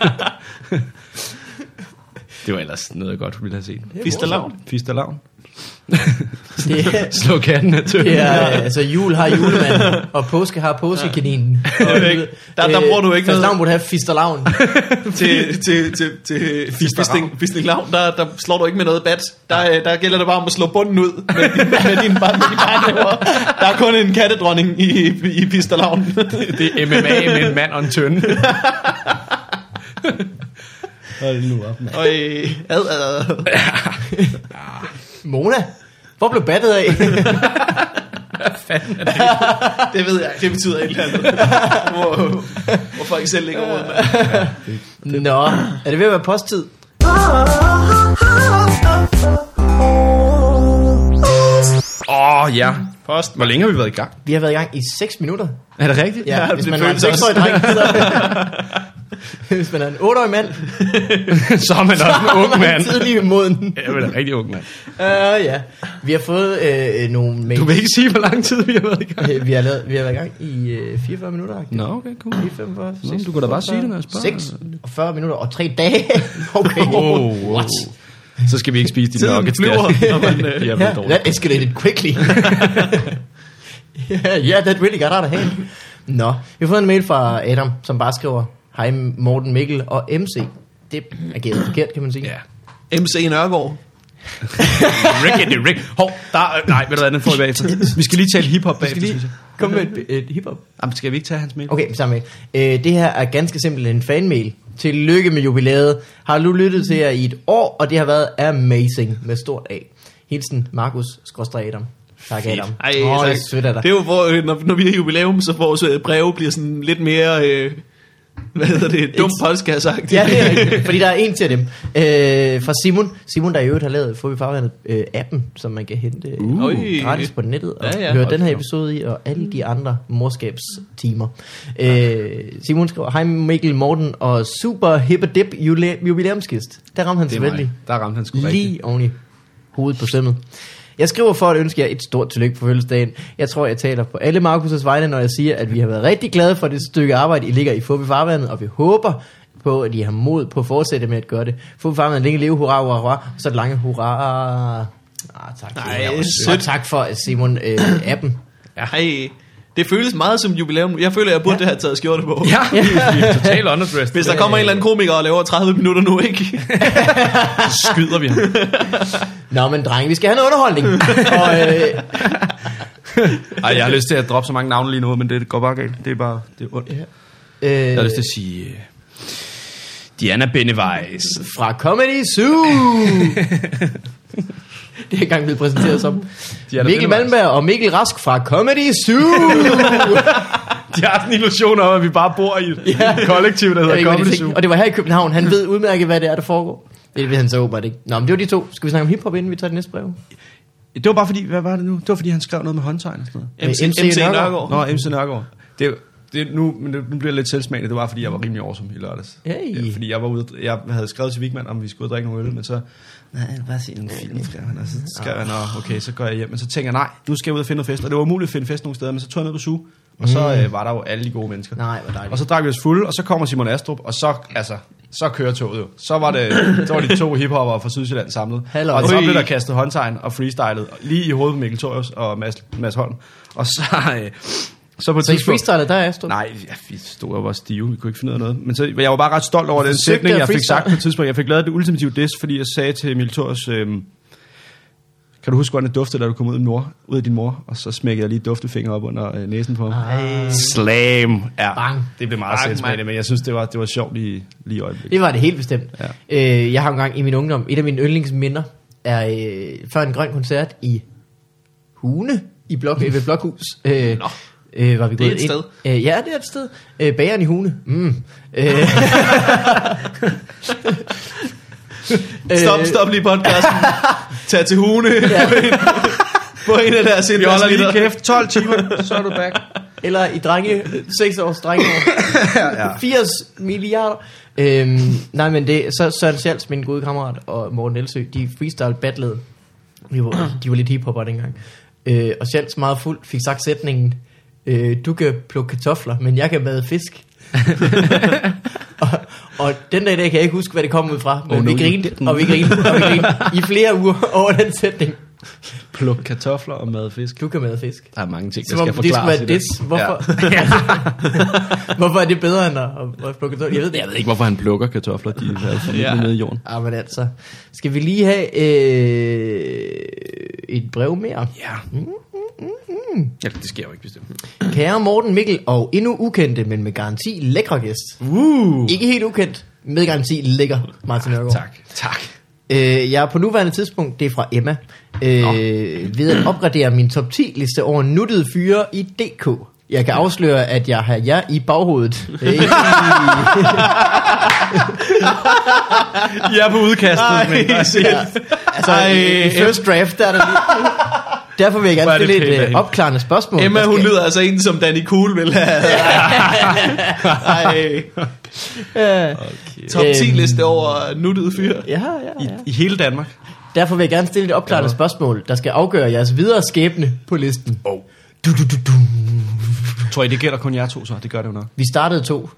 D: det var ellers noget, jeg godt ville have set.
A: Fitness Lounge.
D: Fista Lavn.
C: Det er,
D: Slå katten af tønden.
C: det er, altså jul har julemanden, og påske har påskekaninen.
A: er det ikke. Der- der bruger
C: øh,
A: du ikke noget.
C: noget. burde have fisterlavn.
A: til, til, til, til Fisting, Fisting Lavn, der, der slår du ikke med noget bat. Der, øh, der gælder det bare om at slå bunden ud med, din, [LAUGHS] med dine bar- med dine barnæver. Der er kun en kattedronning i, i Fisting [LAUGHS] Lavn.
D: Det er MMA med en mand og en tønde.
B: Hold nu op, mand.
A: Og øh, ad, ad, ad.
C: Mona? Hvor blev battet
A: [LAUGHS]
C: af?
A: Det ved jeg ikke. Det betyder et eller [LAUGHS] andet. Hvor, hvor folk selv ligger rundt med.
C: Nå, er det ved at være posttid?
E: Ah, ah,
D: Åh, oh, ja. Post. Hvor længe har vi været i gang?
C: Vi har været i gang i 6 minutter.
D: Er det rigtigt?
C: Ja, ja hvis
A: det
C: man er en
A: føles også.
C: 6-årig dreng, gider. [LAUGHS] hvis man er en 8-årig mand,
D: så er man også en ung mand.
C: tidlig moden.
D: [LAUGHS] Jeg er en rigtig ung mand.
C: Uh, ja. Vi har fået øh, nogle mails.
D: Du vil ikke sige, hvor lang tid vi har været i gang.
C: Øh, vi, har lavet, vi har været i gang i øh, 44 minutter.
D: Nå, okay, cool.
C: 45,
D: Nå, du kunne da bare sige det med at spørge.
C: 6 og 40 minutter og 3 dage. [LAUGHS] okay.
D: Wow, wow.
C: What?
D: Så skal vi ikke spise dine
A: Tiden
D: nuggets der. [LAUGHS]
A: flyver, når man...
C: [LAUGHS]
A: Øh,
D: De er blevet
C: Yeah,
D: dårlige.
C: that escalated quickly. [LAUGHS] yeah, yeah, that really got out of hand. Nå, vi har fået en mail fra Adam, som bare skriver, Hej Morten Mikkel og MC. Det er gævet forkert, kan man sige.
D: Ja.
A: MC Nørgaard.
D: Rickety Rick. Hov, der, øh, nej, ved du hvad, den får vi
C: [LAUGHS]
D: bagefter. Vi skal lige tale hiphop bagefter, synes jeg.
C: Kom med et, et hiphop.
D: Jamen, skal vi ikke tage hans mail?
C: Okay, samme mail. Øh, det her er ganske simpelt en fanmail. Tillykke med jubilæet. Har du lyttet til jer i et år, og det har været amazing med stort A. Hilsen, Markus, skråstrej Adam. Tak Adam.
A: Ej,
C: Åh,
A: tak.
C: det er sødt af dig.
A: Det er jo, hvor, øh, når, når vi har jubilæum, så vores øh, breve bliver sådan lidt mere... Øh, hvad hedder det? Dum podcast
C: Ja, det
A: [LAUGHS]
C: er rigtigt, fordi der er en til dem. Øh, fra Simon. Simon, der i øvrigt har lavet Fobi Farvandet øh, appen, som man kan hente
D: Uh.
C: uh. gratis på nettet og
A: Ja,
C: ja,
A: ja.
C: ja. høre den her episode i, og alle de andre morskabstimer. Øh, Simon skriver, hej Mikkel Morten og super hip dip jule- jubilæumskist. Der ramte han
D: Det er mig.
C: selvfølgelig
D: Der ramte han sgu rigtigt.
C: lige oven i hovedet på sømmet. Jeg skriver for at ønske jer et stort tillykke på fødselsdagen. Jeg tror, jeg taler på alle Markus' vegne, når jeg siger, at vi har været rigtig glade for det stykke arbejde, I ligger i Fubi Farvandet, og vi håber på, at I har mod på at fortsætte med at gøre det. Fubi Farvandet, længe leve, hurra, hurra, hurra, og så et lange hurra. Ah, tak.
A: Nej,
C: og
A: sødt.
C: tak for Simon øh, appen.
A: Ej, det føles meget som jubilæum. Jeg føler, jeg burde ja. have taget skjorte på.
D: Ja, vi er totalt underdressed.
A: Hvis der kommer en eller anden komiker og laver 30 minutter nu, ikke?
D: Så skyder
C: [LAUGHS]
D: vi ham.
C: Nå, men dreng, vi skal have noget
D: [LAUGHS]
C: underholdning. og, øh,
D: Ej, jeg har lyst til at droppe så mange navne lige nu, men det går bare galt. Det er bare, det er ondt. Jeg har
C: øh,
D: lyst til at sige... øh, Diana Benevejs. [LAUGHS]
C: fra Comedy Zoo. [LAUGHS] det er engang blevet præsenteret som
D: er da
C: Mikkel
D: vildt,
C: Malmberg og Mikkel Rask fra Comedy [LAUGHS] Zoo.
D: De har sådan en illusion om, at vi bare bor i et
C: Ja.
D: kollektiv, der
C: Jeg ved
D: hedder
C: ikke, hvad de
D: Comedy
C: tænkte.
D: Zoo.
C: og det var her i København. Han ved udmærket, hvad det er, der foregår. Det ved han så åbenbart ikke. Nå, men det var de to. Skal vi snakke om hiphop, inden vi tager det næste brev?
D: Det var bare fordi, hvad var det nu? Det var fordi, han skrev noget med håndtegn og sådan noget.
C: Med MC Nørgaard.
D: Nå, MC Nørgaard. Det, er jo- det, er nu, men det, nu bliver jeg lidt selvsmagende. Det var, fordi jeg var rimelig awesome i lørdags.
C: Hey.
D: Ja, fordi jeg, var ude, jeg havde skrevet til Vigman, om vi skulle ud og drikke nogle øl, men så... Nej, jeg vil bare se en film, skrev han. Og så skrev han, "Nå, okay, så går jeg hjem. Men så tænker jeg, nej, nu skal jeg ud og finde noget fest. Og det var umuligt at finde fest nogle steder, men så tog jeg ned på SU. Og så øh, var der jo alle de gode mennesker.
C: Nej, hvor dejligt.
D: Og så drak vi os fulde, og så kommer Simon Astrup, og så, altså, så kører toget jo. Så var det, så var de to hiphopper fra Sydsjælland samlet.
C: Halløj.
D: Og så
C: Ui.
D: blev der kastet håndtegn og freestylet lige i hovedet på Mikkel Torius og Mads, Mads Holm. Og så, øh, så på et
C: Så I
D: tidspunkt...
C: freestyler, der er Astrup.
D: Nej, ja, vi stod og var stive, vi kunne ikke finde ud af noget. Men så, jeg var bare ret stolt over den
C: forsøgte
D: sætning,
C: at
D: jeg fik
C: freestyle.
D: sagt på et tidspunkt. Jeg fik lavet det ultimative diss, fordi jeg sagde til Mikkel Torius, øh, kan du huske, hvordan det duftede, da du kom ud af, din mor, ud af din mor? Og så smækkede jeg lige duftefingre op under øh, næsen på ham.
C: Ej.
D: Slam. Ja,
C: Bang.
D: det blev meget
A: Bang,
D: selvsmagende,
A: mand.
D: men jeg synes, det var, det var sjovt lige, lige i øjeblikket.
C: Det var det helt bestemt. Ja. Øh, jeg har engang i min ungdom, et af mine yndlingsminder, er øh, før en grøn koncert i Hune, i
A: [LAUGHS]
C: blok, øh, ved Blokhus. Øh,
A: Nå.
C: Øh, var vi
A: Det er
C: gået
A: et
C: ind.
A: sted.
C: Øh, ja, det er et sted. Øh, bageren i Hune. Mm. Øh.
A: [LAUGHS]
D: Øh.
A: Stop, stop lige
D: [LAUGHS]
A: podcasten. Tag til Hune. [LAUGHS] På
D: [LAUGHS]
A: en af deres
D: Vi holder lige
A: indgangslitter.
D: kæft. 12 timer, så er du [LAUGHS] back.
C: Eller i drenge, 6 års drenge. ja. 80 milliarder. Øhm, nej, men det, så Søren Sjals, min gode kammerat, og Morten Elsø, de freestyle battlede. De var, de var lidt hiphopper dengang. Øh, og Sjals meget fuld fik sagt sætningen, øh, du kan plukke kartofler, men jeg kan made fisk. [LAUGHS] og, og den dag i dag kan jeg ikke huske, hvad det kom ud fra, men
D: Oh
C: oh, no,
D: no, you
C: vi
D: didn't.
C: grinte, og vi grinte, og vi grinte i flere uger over den sætning.
D: Pluk kartofler og mad fisk.
C: Du kan made fisk.
D: Der er mange ting, der
C: Som om
D: skal
C: det skulle
D: forklares.
C: være
D: i dag.
C: diss. Hvorfor? Ja. [LAUGHS] Hvorfor er det bedre end at, at, at plukke kartofler? Jeg ved det
D: Jeg ved ikke, hvorfor han plukker kartofler. De er altså
A: Ja.
D: ja. nede i jorden.
C: Ah, men altså. Skal vi lige have øh, et brev mere?
D: Ja. ja, det sker jo ikke bestemt.
C: Kære Morten Mikkel og endnu ukendte, men med garanti lækre gæst.
D: Uh.
C: Ikke helt ukendt, med garanti ligger Martin Nørgaard.
D: Tak. Tak.
C: Øh, jeg er på nuværende tidspunkt, det er fra Emma, øh, ved at opgradere min top 10 liste over nuttede fyre i DK. Jeg kan afsløre, at jeg har jer i baghovedet. [LAUGHS] Det er ikke-
D: I er på udkastet,
A: Nej,
D: men
A: shit.
C: Ja. Altså, Ej, i, i first draft, der er der lige... Derfor vil jeg
D: Hvor
C: gerne
D: er det
C: stille
D: pænt af
C: et øh,
D: hende.
C: opklarende spørgsmål.
A: Emma,
C: Der
A: hun
C: skal-
A: lyder altså en, som Danny Cool vil have. [LAUGHS] Ej. Top
D: Øh.
A: 10 liste over nuttede fyre.
C: Øh, Ja, ja, ja.
D: i hele Danmark.
C: Derfor vil jeg gerne stille et opklarende spørgsmål, der skal afgøre jeres videre skæbne på listen. Oh. Du, du, du, du.
D: Tror I, det gælder kun jer to så? Det gør det jo nok.
C: Vi startede to.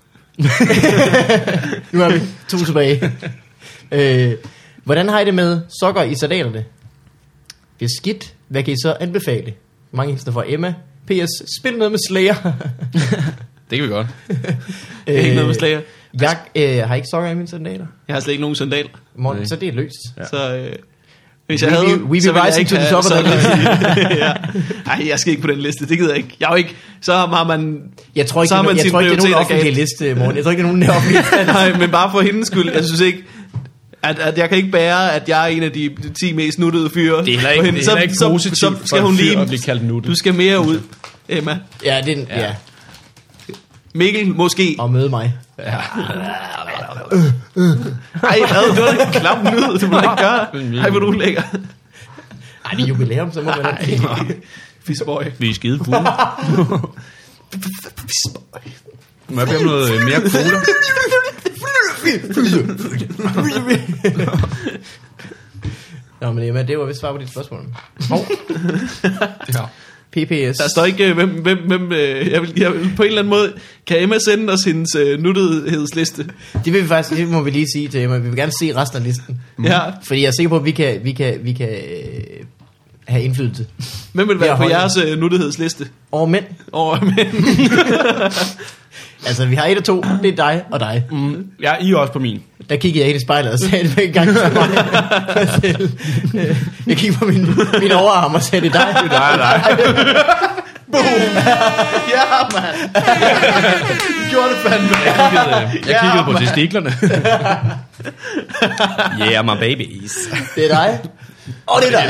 C: nu er vi to tilbage. Øh, hvordan har I det med sokker i salaterne? Beskidt. Hvad kan I så anbefale? Mange hilsner fra Emma. P.S. Spil noget med Slayer.
B: Det kan vi godt.
A: Det er ikke noget med slager.
C: Jeg øh, har ikke sokker i mine sandaler.
A: Jeg har slet ikke nogen sandal.
C: Morten, så det er løst.
A: Ja. Så øh, hvis jeg
C: We
A: havde,
C: be- we be
A: så ville jeg
C: rising
A: ikke
C: to the
A: have
C: top of
A: sådan
C: that
A: en- [LAUGHS] ja. Ej, jeg skal ikke på den liste. Det gider jeg ikke. Jeg er jo ikke. Så har man...
C: Jeg tror ikke,
A: så
C: det
A: har
C: er,
A: man
C: nogen- jeg
A: sine
C: tror ikke, det er nogen
A: prioriteter
C: offentlig
A: galt.
C: liste, Morten. Jeg tror ikke, det er nogen offentlig
A: Nej, men bare for hendes skyld. Jeg synes ikke, at, at jeg kan ikke bære, at jeg er en af de 10 mest nuttede fyre.
B: Det er heller
A: For
B: ikke,
A: hende.
B: det er heller ikke positivt så, så skal hun lige... at blive kaldt nuttet.
A: Du skal mere ud, Emma.
C: Ja, det er en, ja.
A: Mikkel, måske.
C: Og møde mig.
A: Ej, hvad? Det var da en klam lyd. Det må du ikke gøre. Ej, hvor du lækker.
C: Ej, det er jubilæum, så må man da kigge.
A: Fisboy.
D: Vi er skide fulde. Må jeg bede om noget øh, mere cola? [LAUGHS]
C: Nå, men Emma, det var vist svar på dit spørgsmål. [LAUGHS] Hov. PPS.
A: Der står ikke, øh, hvem, hvem, hvem øh, jeg, vil, jeg vil, på en eller anden måde, kan Emma sende os hendes øh, nuttethedsliste?
D: Mhm.
C: Det vil vi faktisk, det må vi lige sige til Emma. Vi vil gerne se resten af listen.
A: Ja.
C: Fordi jeg er sikker på, at vi kan, vi kan, vi kan øh, have indflydelse.
A: Hvem vil
C: Jeg
A: være på
C: holder.
A: jeres øh, nuttethedsliste?
C: Over mænd.
A: Over mænd.
D: [LAUGHS]
C: Altså, vi har et og to. Det er dig og dig.
D: Mm. Ja, I er også på min.
C: Der kiggede jeg ind i spejlet og sagde det en gang til mig. selv. Øh, Jeg kiggede på min, min overarm og sagde, det er dig. Det er dig, dig.
A: ja, mand. Gjorde det fandme.
D: Jeg kiggede, øh, jeg kiggede på testiklerne. [LAUGHS] yeah, my babies.
C: Det er dig. Og det er dig.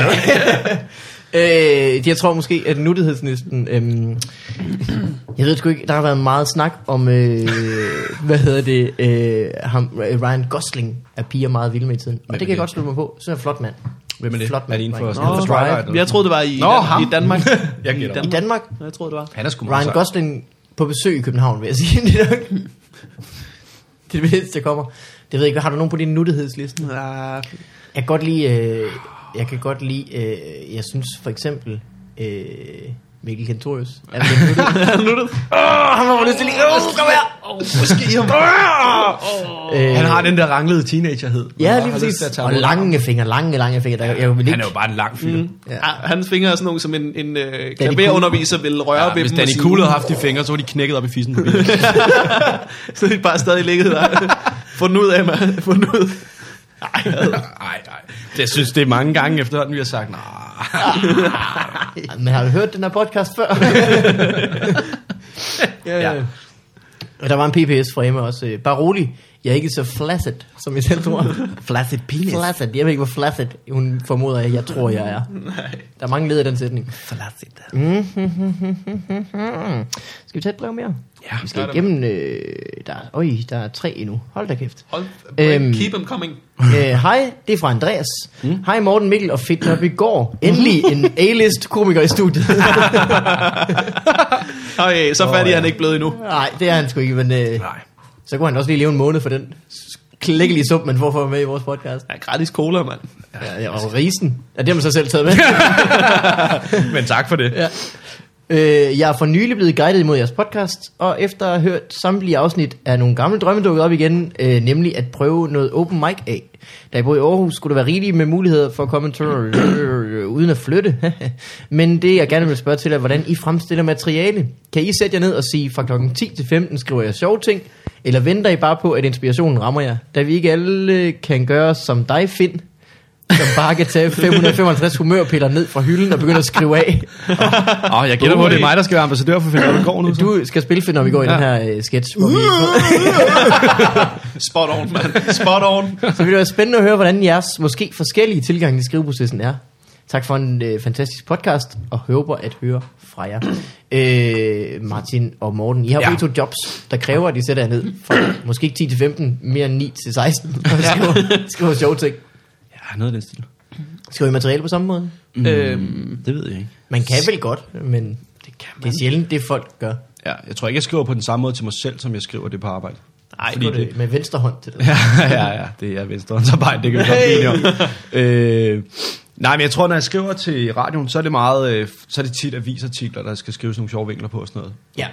C: [LAUGHS] øh, jeg tror måske, at nuttighedsnisten... Øhm, jeg ved sgu ikke, der har været meget snak om, øh, hvad hedder det, øh, ham, Ryan Gosling er piger meget vilde med i tiden. Og det kan jeg godt slutte mig på. Så er en flot mand.
D: Hvem er det?
C: Flot mand.
D: Er det en for,
C: Nå,
D: sådan for
C: Twilight.
D: Twilight?
A: Jeg troede, det var i,
D: Nå, ham.
A: i
D: [LAUGHS]
A: Danmark.
D: Jeg
A: I
D: gætter.
C: I
A: Danmark.
C: Danmark,
A: Jeg troede, det var.
D: Han er sgu meget
C: Ryan
D: sej.
C: Gosling på besøg i København, vil jeg sige. [LAUGHS] Det er nok det, er det bedste, der kommer. Det ved jeg ikke, har du nogen på din nuttighedsliste?
A: Ja,
C: Jeg kan godt lide, øh, jeg kan godt lide, øh, jeg synes for eksempel, øh, Mikkel Kentorius. Er det en [LAUGHS] nuttet?
A: nuttet.
C: Åh, han var lyst til lige, åh, kom her! Øh,
D: Han har den der ranglede teenagerhed.
C: Ja, lige præcis. Og lange fingre, lange, lange fingre. Der, jeg vil
D: Han
C: ikke,
D: er jo bare en lang fyr. Mm.
A: Ja. Ah, Hans fingre er sådan nogle, som en, en øh,
C: Cool.
A: klaverunderviser vil røre
D: Ja,
A: ved
D: hvis
A: dem. og
D: Danny
A: sige,
D: Cool havde haft de fingre, så var de knækket op i fissen på bilen.
A: [LAUGHS] Så er de bare stadig ligget der. [LAUGHS] Få den ud, Emma. Få den ud.
D: [LAUGHS] Nej, nej. Jeg synes, det er mange gange efterhånden, vi har sagt, nej.
C: men har du hørt den her podcast før? [LAUGHS] ja. ja. Og der var en PPS fra Emma også. øh, Bare rolig, jeg er ikke så flaccid, som jeg selv [LAUGHS] tror. flaccid penis? Flaccid, jeg ved ikke, hvor flaccid hun formoder, jeg, jeg tror, jeg er. Nej. Der er mange led i den sætning. Flaccid. Mm. Skal vi tage et brev mere?
D: Ja,
C: Vi skal igennem, øh, der, er- øj, der er tre endnu. Hold da [LAUGHS] kæft.
A: Hold,
C: Øhm.
A: keep them coming.
C: Øh, Hej, det er fra Andreas. Hej Morten Mikkel og Fedt Nørby går. Endelig en A-list komiker i [LAUGHS] studiet.
A: Okay, så fattig er han ikke blevet endnu.
C: Nej, det er han sgu ikke, men øh,
D: Nej.
C: så kunne han også lige leve en måned for den klækkelige suppe, man får for at være med i vores podcast.
A: Ja, gratis cola, mand.
C: Ja, og risen. Ja, det har man så selv taget med.
D: Men tak for det.
C: ja. øh, jeg er for nylig blevet guidet imod jeres podcast, og efter at have hørt samtlige afsnit er nogle gamle drømme dukket op igen, øh, nemlig at prøve noget open mic af. Da jeg boede i Aarhus, skulle der være rigeligt med muligheder for at komme en tur uden at flytte. [LAUGHS] Men det, jeg gerne vil spørge til, er, hvordan I fremstiller materiale. Kan I sætte jer ned og sige, fra klokken 10 til 15 skriver jeg sjove ting, eller venter I bare på, at inspirationen rammer jer, da vi ikke alle kan gøre som dig, Finn? som bare kan tage 555 humørpiller ned fra hylden og begynde at skrive af.
D: Åh, oh, jeg gætter på, det er mig, der skal være ambassadør for Finn Nørgaard nu. så.
C: Du skal spille for, når vi går i den her øh, sketch. Hvor vi,
A: Spot on, mand. Spot on.
C: [LAUGHS] så vil det være spændende at høre, hvordan jeres måske forskellige tilgang til skriveprocessen er. Tak for en øh, fantastisk podcast, og håber at høre fra jer. Øh, Martin og Morten, I har ja. to jobs, der kræver, at I sætter jer ned fra måske ikke 10 til 15, mere end 9 til [LAUGHS] 16, og skriver, skriver sjove ting.
D: Ja, noget af den stil.
C: Skriver I materiale på samme måde?
A: Mm. Øhm,
D: Det ved jeg ikke.
C: Man kan vel godt, men det, kan man. det er sjældent, det folk gør.
D: Ja, jeg tror ikke, jeg skriver på den samme måde til mig selv, som jeg skriver det på arbejde.
C: Ej,
D: Fordi
C: det, det med venstre hånd til det.
D: Ja, [LAUGHS] ja, ja. Det er venstrehåndsarbejde, det kan vi godt blive enige om. Øh, nej, men jeg tror, når jeg skriver til radioen, så er det meget, øh, så er det tit avisartikler, der skal skrives nogle sjove vinkler på og sådan noget.
C: Ja.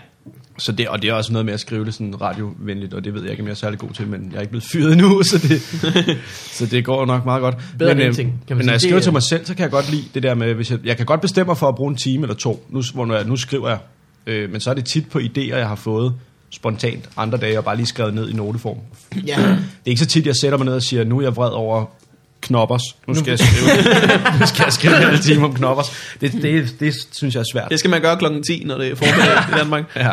D: Så det, og det er også noget med at skrive det sådan radiovenligt, og det ved jeg ikke, om jeg er særlig god til, men jeg er ikke blevet fyret endnu, [LAUGHS] så det, så det går nok meget godt.
C: Bedre end
D: men, øh,
C: ingenting, kan man sige.
D: men når jeg
C: Det
D: skriver
C: er-
D: til mig selv, så kan jeg godt lide det der med, hvis jeg, jeg kan godt bestemme mig for at bruge en time eller to, nu, s- hvor nu, er- nu skriver jeg, øh, men så er det tit på idéer, jeg har fået spontant andre dage, og bare lige skrevet ned i noteform. Det
C: ja.
D: er ikke så tit, jeg sætter mig ned og siger, nu er jeg vred over knoppers. Nu skal jeg skrive, [LAUGHS] nu skal jeg skrive en halv time om knoppers. Det, det, det, synes jeg er svært.
A: det skal man gøre klokken 10, når det er formiddag i
D: [LAUGHS]
A: Danmark.
D: Ja.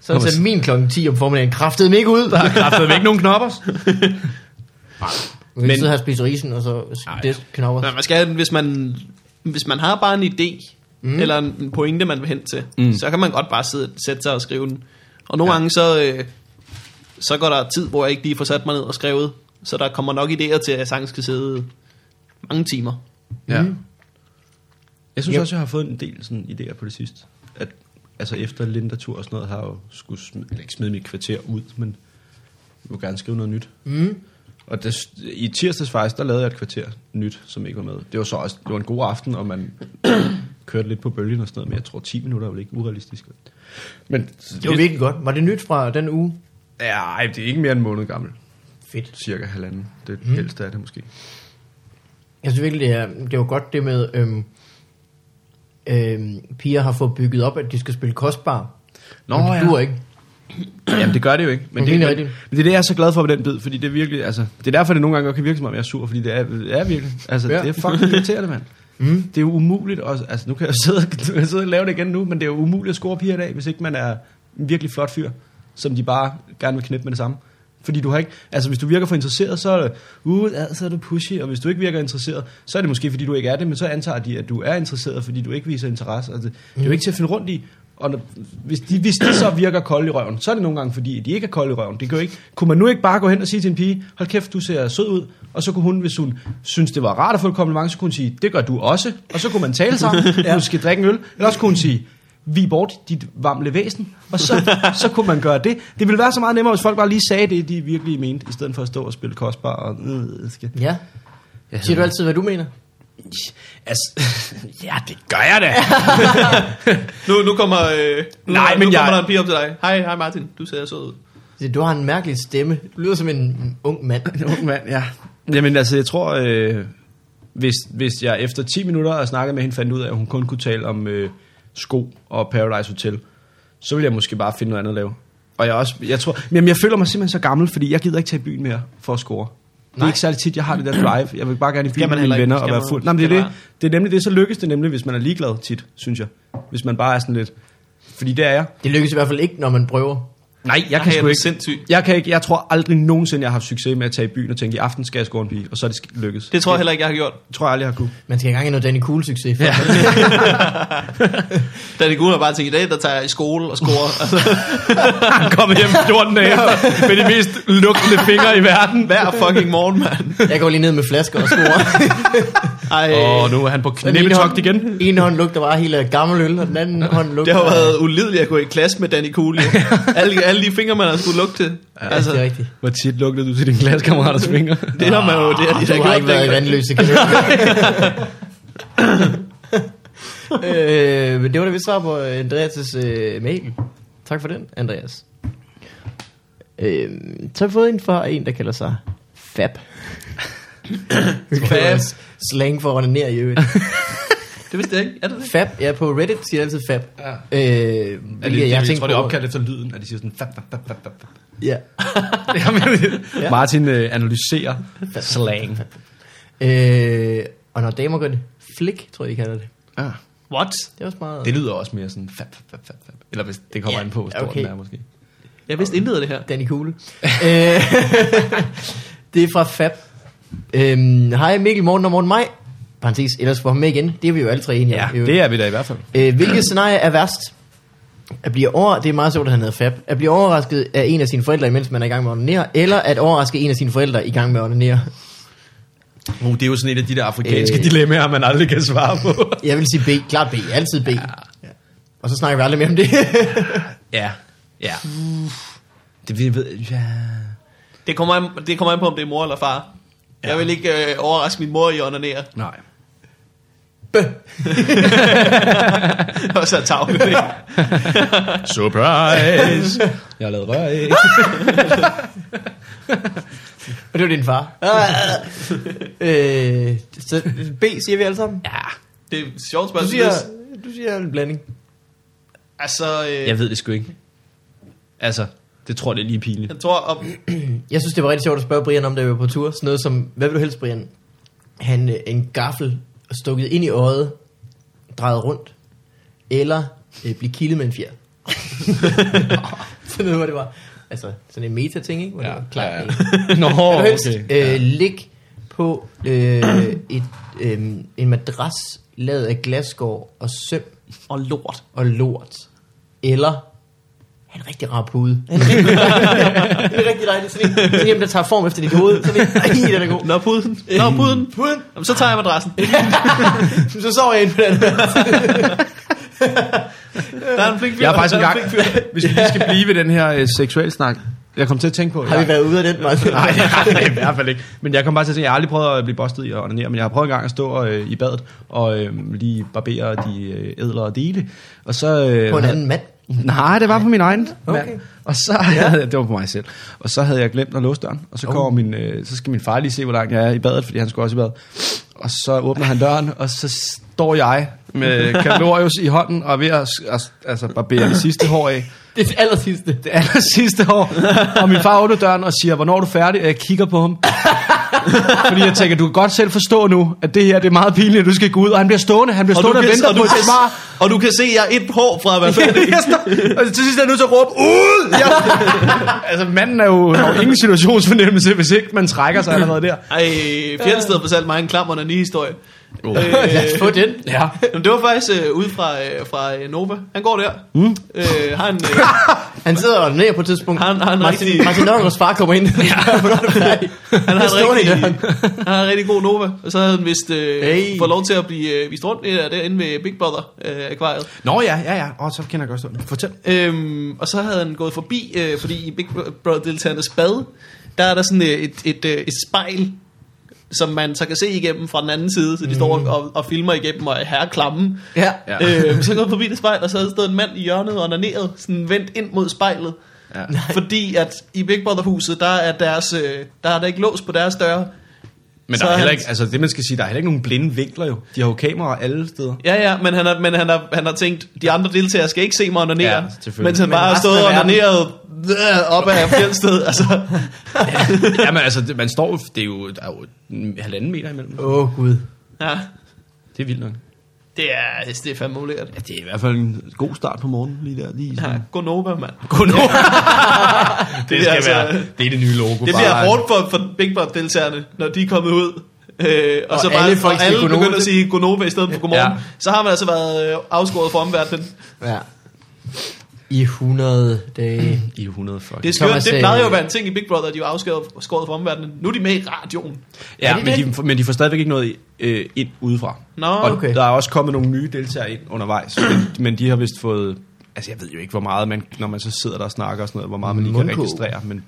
C: Sådan set min klokken 10 om formiddagen kraftede mig ikke ud.
D: Der er kraftedeme ikke nogen knoppers.
C: [LAUGHS] Men,
D: Men-
C: sidder her og spiser risen, og så det knopper.
A: Men man skal, hvis man, hvis man har bare en idé, mm. eller en en pointe, man vil hen til, mm. så kan man godt bare sidde, sætte sig og skrive den. Og nogle ja. gange, så, øh, så går der tid, hvor jeg ikke lige får sat mig ned og skrevet. Så der kommer nok idéer til, at jeg sagtens skal sidde mange timer.
D: Ja.
C: Mhm.
D: Jeg synes
C: Yep.
D: yep. også, jeg har fået en del sådan, idéer på det sidste. At, altså efter Lindatur og sådan noget, har jeg jo skulle smide, eller ikke smide mit kvarter ud, men jeg vil gerne skrive noget nyt.
C: Mm.
D: Og det, i tirsdags faktisk, der lavede jeg et kvarter nyt, som ikke var med. Det var så også, det var en god aften, og man [COUGHS] kørte lidt på bølgen og sådan noget, men jeg tror 10 minutter er vel ikke urealistisk. Men
C: Det var virkelig godt. Var det nyt fra den uge?
D: ja, ej, det er ikke mere end en måned gammel.
C: Fedt.
D: Cirka halvanden. Det
C: Hmm.
D: mm. ældste er det måske.
C: Jeg synes virkelig, det, er, det var godt det med, øhm, øhm, piger har fået bygget op, at de skal spille kostbar.
D: Nå,
C: men det
D: ja.
C: duer ikke.
D: Jamen, det gør det jo ikke. Men
C: Det
D: det,
C: er
D: men,
C: helt
D: men det
C: rigtigt.
D: er det, jeg er så glad for ved den bid, fordi det er virkelig, altså, det er derfor, det nogle gange godt kan virke som om, jeg er sur, fordi det er, er virkelig, altså,
C: Ja. Hmm.
D: ja. det er fucking irriterende, mand. Mm. Det er jo umuligt, også, altså, nu kan jeg sidde, [LAUGHS] nu kan jeg sidde og lave det igen nu, men det er jo umuligt at score piger i dag, hvis ikke man er en virkelig flot fyr, som de bare gerne vil knippe med det samme. Fordi du har ikke, altså hvis du virker for interesseret, så er det, uh, ja, så er du pushy, og hvis du ikke virker interesseret, så er det måske fordi du ikke er det, men så antager de, at du er interesseret, fordi du ikke viser interesse. Altså, det
C: Hmm.
D: er jo ikke til at finde rundt i. Og når, hvis, de, hvis de så virker kolde i røven, så er det nogle gange fordi, at de ikke er kolde i røven. Det kan jo ikke, kunne man nu ikke bare gå hen og sige til en pige, hold kæft, du ser sød ud, og så kunne hun, hvis hun synes det var rart at få et kompliment, så kunne hun sige, det gør du også, og så kunne man tale [LAUGHS] sammen, ja. du skal drikke en øl, eller også kunne hun sige, vi bort dit varmle væsen, og så, så kunne man gøre det. Det ville være så meget nemmere, hvis folk bare lige sagde det, de virkelig mente, i stedet for at stå og spille kostbar og... Øh, skal.
C: Ja. Siger du altid, hvad du mener?
D: Altså, [LAUGHS] ja, det gør jeg da.
A: Nu, nu kommer, øh, nu,
D: Nej,
A: nu
D: men
A: kommer
D: jeg-
A: der en pige op til dig. Hej, hej Martin, du ser sød ud.
C: Du har en mærkelig stemme. Du lyder som en ung mand.
D: En ung mand, ja. Jamen altså, jeg tror, øh, hvis, hvis jeg efter 10 minutter har snakket med hende, fandt ud af, at hun kun kunne tale om øh, sko og Paradise Hotel, så ville jeg måske bare finde noget andet at lave. Og jeg, er også, jeg, tror, men jeg føler mig simpelthen så gammel, fordi jeg gider ikke tage i byen mere for at score. Det er
C: Nej.
D: ikke særlig tit, jeg har det der drive. Jeg vil bare gerne i byen
A: man
D: med
A: heller ikke.
D: mine venner
A: Skal
D: og være
A: man-
D: fuld. Nej, men det er
A: skal
D: det. Det er nemlig det, så lykkes det nemlig, hvis man er ligeglad tit, synes jeg. Hvis man bare er sådan lidt... Fordi det er jeg.
C: Det lykkes i hvert fald ikke, når man prøver.
D: Nej, jeg
A: Ej,
D: kan sgu
A: er du
D: ikke.
A: sindssyg.
D: Jeg, kan ikke, jeg tror aldrig nogensinde, jeg har haft succes med at tage i byen og tænke, i aften skal jeg score en pige, og så er det sk- lykkes.
A: Det tror jeg heller ikke, jeg har gjort.
D: tror jeg aldrig, jeg har kunne.
C: Man skal i gang i noget Danny Cool-succes. Ja.
A: Da det gode var bare tænkt, i dag der tager jeg i skole og scorer. [LAUGHS] altså,
D: Han kom hjem 14 dage [LAUGHS] efter med de mest lugtende fingre i verden.
A: hver fucking morgen, mand.
C: Jeg går lige ned med flasker og score.
A: Ej,
D: Åh, oh, nu er han på
C: Den ene
D: knæbetogt
C: hånd-
D: igen.
C: En hånd lugter bare helt af gammel øl, og den anden hånd lugter...
A: det har jo
C: af-
A: været ulideligt at gå i klasse med Danny
C: [LAUGHS]
A: Coolio. alle, alle de fingre, man har skulle lugte til. Ja,
C: Ja, altså, det er rigtigt. Ah,
D: Hvor tit lugtede du til din klassekammeraters fingre?
A: Det har man jo, det har de
C: Du
A: da
C: har
A: gjort
C: ikke været i
A: dengang.
C: vandløse kanoner. [LAUGHS] øh, men det var det, vi svar på øh, Andreas' øh, mail. Tak for den, Andreas. Øh, så har vi fået en fra en, der kalder sig [COUGHS] Fab. Fab. Slang for at onanere i [COUGHS] øvrigt.
A: Det vidste jeg ikke. Er det det?
C: Fab, ja, på Reddit siger jeg altid Fab. Ja. Øh, hvilket
D: Er det, jeg, jeg, jeg
C: tænkte
D: tror, det er
C: på-
D: opkaldt efter lyden, at de siger sådan... Fap, fap, fap, fap, fap.
C: Ja. [LAUGHS]
D: Martin øh, analyserer slang.
C: Øh, og når damer gør det, flick, tror jeg, de kalder det.
F: Ja.
A: What?
C: Det er også meget...
D: Det lyder også mere sådan fab, fab, fab, fab. Eller hvis det kommer
C: Ja,
D: an på, hvor stor
C: okay.
D: okay. den er måske.
A: Jeg vidste intet af det her.
C: Danny Kugle. [LAUGHS] Øh, det er fra Fab. Øhm, Hej Mikkel, Morten og Morten Maj. Parenthes, ellers får ham med igen. Det er vi jo alle tre enige om. i øvrigt.
D: det er vi da i hvert fald.
C: Øh, hvilket scenarie er værst? At blive over... Det er meget sjovt, at han hedder Fab. At blive overrasket af en af sine forældre, imens man er i gang med at ordinere, eller at overraske en af sine forældre i gang med at ordinere.
D: Uh, det er jo sådan et af de der afrikanske
C: Øh.
D: øh. dilemmaer, man aldrig kan svare på.
C: Jeg vil sige B. Klart B. Altid B. Ja. Og så snakker vi aldrig mere
D: [LAUGHS]
C: om det.
D: ja, ja. Det vi ved, ja.
A: Det kommer, an, det kommer an på, om det er mor eller far. Ja. Jeg vil ikke øh, overraske min mor i at onanere.
D: Nej.
A: [LAUGHS] Og så
C: [LAUGHS]
A: tavle det.
D: Surprise! jeg har lavet rør af.
C: Og det var din far. øh, så B siger vi alle sammen. Ja.
A: Det er et sjovt
C: Du
A: spørgsmål.
C: siger, du siger en blanding.
A: Altså, øh,
D: Jeg ved det sgu ikke. Altså, det tror jeg det er lige pinligt.
A: jeg tror, om,
C: Jeg synes, det var rigtig sjovt at spørge Brian om, da vi var på tur. Sådan noget som, hvad vil du helst, Brian? Han øh, en gaffel stukket ind i øjet, drejet rundt, eller øh, blive kildet med en fjer. sådan noget, hvor det var. Altså, sådan en meta-ting, ikke? Hvor det var klart. Ja, ja.
D: Nå,
C: Vil du helst
D: okay.
C: øh, ligge på øh, et, øh, en madras lavet af glasgård og søm
A: og lort.
C: og lort, eller have en rigtig rar pude. [LAUGHS] en rigtig dejlig sådan en, sådan en, der tager form efter dit hoved. Sådan en, ej, den er god.
A: Nå, puden. Nå, puden. puden. Jamen, så tager jeg
C: [LAUGHS]
A: madrassen.
C: Så sover jeg ind på den.
A: [LAUGHS] Der er en flink fyr.
D: Jeg er faktisk
A: Der
D: engang,
A: flink fyr.
D: hvis vi lige skal blive ved den her øh, seksuel snak, jeg kom til at tænke på...
C: Har vi været ude af den, Martin?
D: Nej, det har jeg i hvert fald ikke. Men jeg kom bare til at tænke, jeg har aldrig prøvet at blive bustet i at onanere, men jeg har prøvet engang at stå øh, i badet og øh, lige barbere de øh, ædlere dele. Og så, øh,
C: På en anden mand.
D: Nej, det var på min egen
C: Okay.
D: okay. mand. Og så [LAUGHS] havde jeg, det var på mig selv. Og så havde jeg glemt at låse døren. Og så,
C: Oh.
D: kommer min, øh, så skal min far lige se, hvor langt jeg er i badet, fordi han skulle også i bad. Og så åbner han døren, og så står jeg
C: [LAUGHS]
D: med kalorius i hånden og er ved at s- altså, barbere det sidste hår af.
C: Det er det aller sidste.
D: Det aller sidste år. Og min far åbner døren og siger, hvornår er du færdig? Og jeg kigger på ham. Fordi jeg tænker, du kan godt selv forstå nu, at det her det er meget pinligt, at du skal gå ud. Og han bliver stående, han bliver
A: Og du,
D: stående og,
A: kan,
D: venter
A: og, du
D: på et
A: kan,
D: svar.
A: og du kan se, at jeg er et hår fra at være
D: [LAUGHS]
A: færdig.
D: Jeg står- og til sidst er jeg nødt til at råbe, ud! Jeg, [LAUGHS] altså, manden er jo, har jo ingen situationsfornemmelse, hvis ikke man trækker sig allerede der.
A: Ej, Fjeldsted fortalte mig en klam under ni historie. Oh. Øh,
C: Lad os få den.
D: Ja.
A: jamen, det var faktisk øh, ude fra, øh, fra øh, Nova. Han går der. Mm. Øh, har en, øh,
C: Han sidder og ned på et tidspunkt.
A: Han- han er
C: Martin,
A: rigtig-
C: Martin Nørgaards far kommer ind. [LAUGHS] Ja. Hvornår er du færdig?
A: han, har
C: Jeg står
A: en
C: i
A: rigtig,
C: døren.
A: han har en rigtig god Nova. Og så havde han vist øh,
C: Hey.
A: hey. fået lov til at blive øh, vist rundt øh, derinde ved Big øh, Brother-akvariet.
D: Nå ja, ja, ja. Åh, så kender jeg godt stå. Fortæl.
A: Øhm, og så havde han gået forbi, øh, fordi i Big Brother-deltagernes bad, der er der sådan øh, et, et, øh, et spejl, som man så kan se igennem fra den anden side, så de står og, og filmer igennem og er herreklamme.
C: Mm. Ja.
A: Ja. Øhm, så går jeg forbi det spejl, og så havde stået en mand i hjørnet og onaneret, sådan vendt ind mod spejlet.
D: Ja.
A: Fordi at i Big Brother-huset, der er, deres, øh, der er der ikke lås på deres døre.
D: Men
A: Så
D: der er
A: han-
D: heller ikke, altså det man skal sige, der er heller ikke nogen blinde vinkler jo. De har jo kameraer alle steder.
A: Ja, ja, men han har, men han har, han har tænkt, de andre deltagere skal ikke se mig onanere.
D: Ja,
A: Ja,
D: selvfølgelig.
A: mens han
C: Men
A: bare har
C: resten
A: stået og
C: af verden-
A: onaneret øh, op
C: [LAUGHS]
A: ad fjeldsted. altså,
D: Jamen altså, det, man står jo, det er jo, der er jo en halvanden meter imellem.
C: Åh, oh, Gud.
A: ja.
D: Det er vildt nok.
A: Det er, det er fandme ulækkert.
D: Ja, det er i hvert fald en god start på morgenen lige der. Lige
A: Ja, Gonova,
D: [LAUGHS]
A: mand.
D: God nu. det skal
A: altså-
D: altså, være, det er det nye logo.
A: Det bliver hårdt for, for Big Brother-deltagerne, når de er kommet ud. Øh, og,
C: Og
A: og, så
C: alle
A: bare,
C: folk
A: og
C: siger
A: alle
C: Gonova.
A: begynder at sige Gonova i stedet for godmorgen. Ja.
D: Ja.
A: Så har man altså været øh, afskåret fra omverdenen.
C: Ja. I 100 dage.
D: I 100 fuck.
A: Det er
C: Thomas,
A: skørt. Det
C: øh,
A: plejede jo at være en ting i Big Brother, at de var afskåret fra omverdenen. Nu er de med i radioen.
C: Er
D: Ja,
C: det
D: men de, men de får stadigvæk ikke noget øh, ind udefra.
A: Nå,
D: og
C: okay.
D: der er også kommet nogle nye deltagere ind undervejs, [CLEARS THROAT] men, men de har vist fået... Altså, jeg ved jo ikke, hvor meget man, når man så sidder der og snakker og sådan noget, hvor meget man lige kan
C: Mundkurv.
D: registrere, men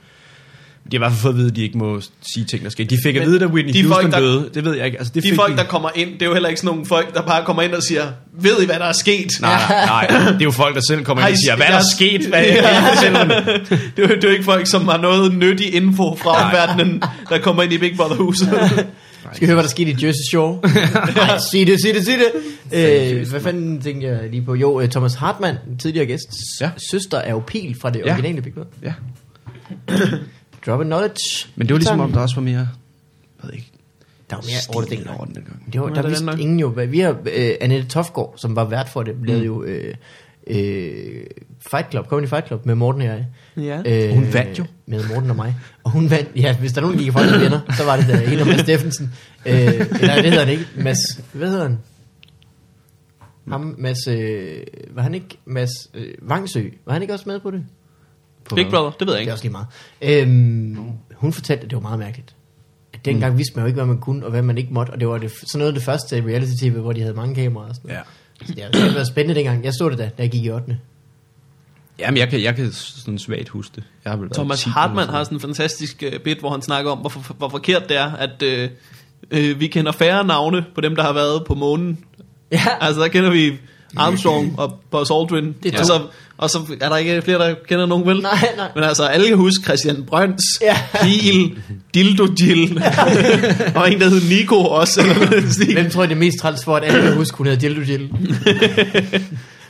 D: de har i hvert fald fået at vide, at de ikke må sige ting, der sker. De fik at
A: Men
D: vide, at Whitney
A: de folk,
D: Houston
A: der-
D: døde. Det ved jeg ikke. Altså, det
A: De
D: fik
A: folk, der kommer ind, det er jo heller ikke sådan nogle folk, der bare kommer ind og siger, ved I, hvad der er sket?
D: Nej, nej, nej. Det er jo folk, der selv kommer
A: Har
D: ind og
A: I-
D: siger, hvad er der
A: jeg-
D: sket? Hvad er
A: Det er, jo, det er jo ikke folk, som har noget nyttig info fra omverdenen, der kommer ind i Big Brother-huset.
C: Skal vi høre, hvad der skete i Jersey [LAUGHS] Shore? Nej, sig det, sig det, sig det. Øh, hvad fanden tænkte jeg lige på? Jo, øh, Thomas Hartmann, en tidligere gæst, ja.
D: Ja.
C: søster er jo Pil fra det
D: Ja.
C: originale Big Brother.
D: Ja.
C: Drop a knowledge.
D: Men det var ligesom
C: Sådan.
D: om, der også var mere... Jeg ved ikke.
C: Der var mere Ortedal.
G: Over den dengang.
C: Det var,
A: Nå,
C: der
A: det er
C: vidste
A: den nok.
C: ingen jo, hvad vi har, øh, Annette Tofgaard, som var vært for det,
A: Mm.
C: lavede jo øh, øh, Fight Club, Comedy Fight Club med Morten og jeg.
A: Ja.
C: Øh, hun vandt jo. Med Morten og mig. Og hun vandt, ja, hvis der er nogen, der gik i folk, der vinder, så var det der en af Mads Steffensen. Øh, eller det hedder han ikke, Mads, hvad hedder han? Ham, Mads, øh, var han ikke, Mads øh, Vangsø, var han ikke også med på det?
A: [LAUGHS] Big Brother, det ved jeg
C: Det er
A: ikke.
C: også lige meget. Øhm, hun fortalte, at det var meget mærkeligt. At dengang
A: Mm.
C: vidste man jo ikke, hvad man kunne, og hvad man ikke måtte. Og det var det, sådan noget af det første reality-tv, hvor de havde mange kameraer og sådan noget.
D: Ja.
C: Ja. Det var spændende dengang. Jeg så det da, da jeg gik i 8.
B: Jamen, jeg kan, jeg kan sådan svagt huske det. Jeg har vel været
A: Thomas
B: 10 eller
A: Hartmann
B: sådan
A: har
B: noget.
A: sådan en fantastisk øh, bit, hvor han snakker om, hvor, for- hvor forkert det er, at øh, øh, vi kender færre navne på dem, der har været på månen.
C: Ja.
A: Altså, der kender vi Armstrong og Buzz Aldrin.
C: Det er
A: og, så, og så er der ikke flere, der kender nogen, vel?
C: Nej, nej.
A: Men altså, alle kan huske Christian Brøns,
C: Ja.
A: ja. Kiel, Dildo
C: [LAUGHS]
A: Jill, og en, der hed Nico også. eller noget i den stil.
C: [LAUGHS] Hvem tror jeg det er mest træls for, at alle kan huske, hun hedder Dildo
A: [LAUGHS]
C: Jill?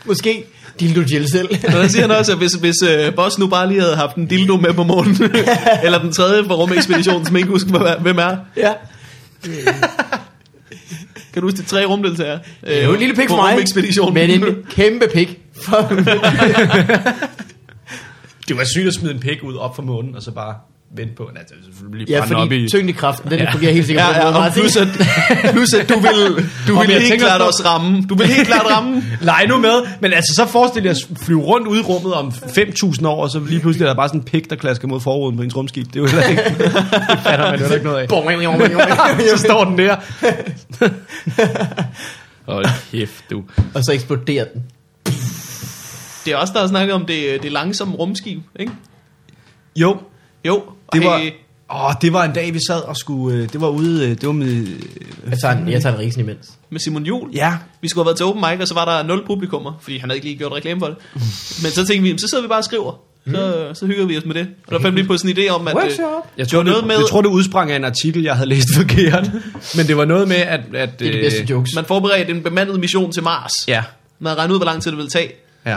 C: Måske Dildo Jill selv.
A: Men der siger han også, at hvis, hvis øh, Boss nu bare lige havde haft en dildo med på månen,
C: [LAUGHS]
A: eller den tredje fra rumekspeditionen, som ikke husker, hvad- hvem er.
C: ja.
A: Kan du huske de tre rumdeltagere? Øh,
C: Det er jo en lille pik for mig,
A: Rumekspeditionen.
C: men en kæmpe pik. For,
D: Det var sygt at smide en pik ud op fra månen, og så bare vente på, at det selvfølgelig lige
C: ja,
D: brænde op i...
C: fordi tyngdekraften, den fungerer helt sikkert.
A: Ja,
C: på en
A: ja,
C: måde
A: og
C: meget.
A: plus at, plus
C: [LAUGHS]
A: at du vil, du
D: Om
A: vil
D: jeg
A: helt
D: tænker
A: klart
D: på-
A: også ramme. Du vil helt klart ramme.
D: Leg nu med, men altså så forestil jer at flyve rundt ude i rummet om 5.000 år, og så lige pludselig er der bare sådan en pik, der klasker mod forruden på ens rumskib. Det er jo heller ikke, det fatter man jo heller ikke noget af.
C: Boing, boing, boing, [LAUGHS] boing.
D: Så står den der.
B: Hold kæft, du.
C: og så eksploderer den.
A: Det er også der har snakket om det, det langsomme rumskib, ikke?
D: Jo,
A: Jo,
D: det var,
A: hey,
D: åh, det var en dag, vi sad og skulle... øh, Det var ude... øh, Det var med... øh,
C: Jeg tager en, jeg tager en risen imens.
A: med Simon Jul.
D: Ja,
A: Vi skulle have været til open mic, og så var der nul publikummer, fordi han havde ikke lige gjort reklame
D: [LAUGHS]
A: for det. Men så tænkte vi, så sidder vi bare og skriver.
D: Mm.
A: Så, øh, så hygger vi os med det. Og der fandt vi på sådan en idé om, at... øh,
D: Jeg tror,
A: noget
D: det, noget
A: med-
D: med... jeg tror, det udsprang af en artikel, jeg havde læst [LAUGHS] forkert. Men det var noget med, at... at øh,
C: Det er de bedste jokes.
A: Man forberedte en bemandet mission til Mars.
D: Ja,
A: Man havde regnet ud, hvor lang tid det ville tage.
D: ja.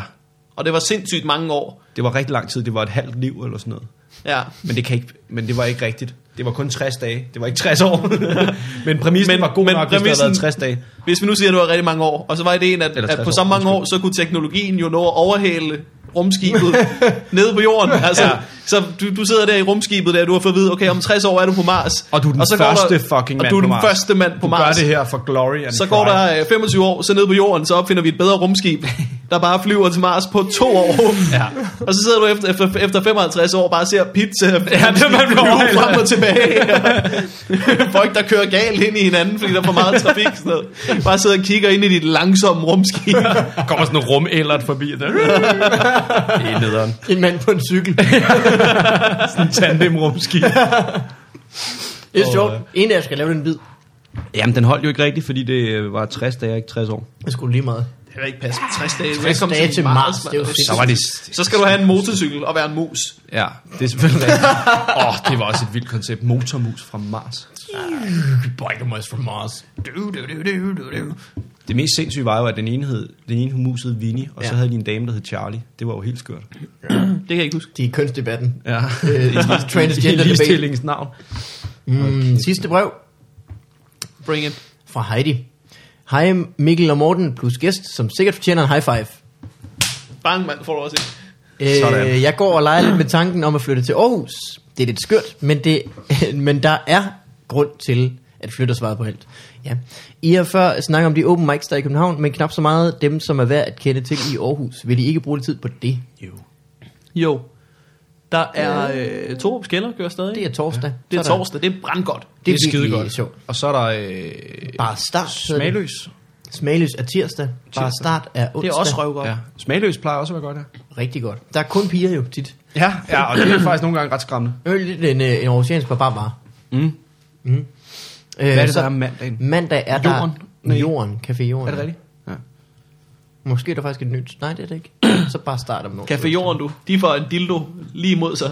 A: Og det var sindssygt mange år.
D: Det var rigtig lang tid. Det var et halvt liv eller sådan noget.
A: Ja.
D: Men det, kan ikke, men det var ikke rigtigt. Det var kun 60 dage. Det var ikke 60 [LAUGHS] år. men præmissen
A: Men-
D: men, var
A: men
D: god men nok, hvis det havde
A: præmissen-
D: været 60 dage.
A: Hvis vi nu siger, at det var rigtig mange år, og så var ideen, at,
D: Eller
A: at
D: 60
A: på
D: år,
A: så mange år, så kunne teknologien jo nå at overhale
D: [LAUGHS]
A: rumskibet nede på jorden. Altså, ja. Så du, du sidder der i rumskibet, der du har fået at vide, okay, om 60 år er du på Mars.
D: Og du er den
A: så går
D: første fucking
A: og
D: mand
A: du er
D: på
A: den
D: Mars.
A: første mand på
D: Du
A: Mars.
D: gør det her for glory and
A: Så går
D: pride.
A: der øh, 25 år, så nede på jorden, så opfinder vi et bedre rumskib, [LAUGHS] der bare flyver til Mars på to [LAUGHS] år.
D: Ja.
A: Og så sidder du efter, efter, efter 55 år bare og ser pizza. Ja,
D: det er, man bliver overhældet.
A: frem og tilbage. [LAUGHS] Folk, der kører galt ind i hinanden, fordi der er for meget trafik. Sådan noget. Bare sidder og kigger ind i dit langsomme rumskib.
D: Der kommer sådan en rum eller forbi. [LAUGHS] Det er nederen.
C: En mand på en cykel.
D: Sådan en tandemrumski.
C: Det er sjovt. En af jer skal lave den bid.
B: Jamen, den holdt jo ikke rigtigt, fordi det øh, var 60 dage, ikke 60 år.
C: Det skulle lige meget.
A: [LAUGHS] Det er da ikke passe. 60 dage.
C: 60
A: Velkommen
C: dage til Mars.
A: mand.
C: Det er jo
B: Så
C: sindssygt.
B: var det...
A: Så skal du have en motorcykel og være en mus.
B: Ja, det er selvfølgelig rigtigt.
D: [LAUGHS]
B: Åh, oh, det var også et vildt koncept. Motormus fra Mars.
C: Bikermus from Mars.
B: Det mest sindssyge var jo, at den ene, hed, den ene humus hed Vinnie, og ja. så havde de en dame, der hed Charlie. [LAUGHS] Det var jo helt skørt.
A: Det kan jeg ikke huske.
C: Det er kønsdebatten.
B: Ja.
D: [LAUGHS]
C: Øh, [LAUGHS] transgender
B: I
C: debate.
B: ligestillingens navn.
C: Mm, sidste brev
A: Bring it.
C: fra Heidi. Hej Mikkel og Morten plus gæst, som sikkert fortjener en high five.
A: Bang, mand, får du også et.
C: Øh, jeg går og leger lidt med tanken om at flytte til Aarhus. Det er lidt skørt, men, det, [LAUGHS] men der er grund til at flytte og svare på alt. Ja. I har før snakket om de open mics, der er i København, men knap så meget dem, som er værd at kende til i Aarhus. Vil I ikke bruge lidt tid på det? Jo.
A: Jo. Der er øh, Torups kælder, kører stadig.
C: Det er torsdag.
A: det er
C: Så der-
A: torsdag, det er brandgodt.
C: Det er,
B: Det er
C: virkelig
B: skidegodt.
C: sjovt.
B: Og så er der øh,
C: Bare start. hedder det.
B: Smagløs.
C: Smagløs er tirsdag. Bare start er onsdag.
A: Det er også røvgodt.
B: Ja. Smagløs plejer også at være godt, ja.
C: Rigtig godt. Der er kun piger jo tit.
B: Ja, ja og det er faktisk nogle gange ret skræmmende.
C: Det er jo lidt en, øh, en aarhusiansk barbarbar.
B: Mm.
C: Mm. Hvad
B: Hvad er det, der er om mandagen?
C: Mandag er der
B: Jorden? Nej.
C: Jorden, Café Jorden.
B: Er det rigtigt? Ja.
C: Måske er der faktisk et nyt. Nej, det er det
B: [CLEARS THROAT]
C: ikke. Så bare start om noget.
A: Café Jorden, du. De får en dildo lige imod sig.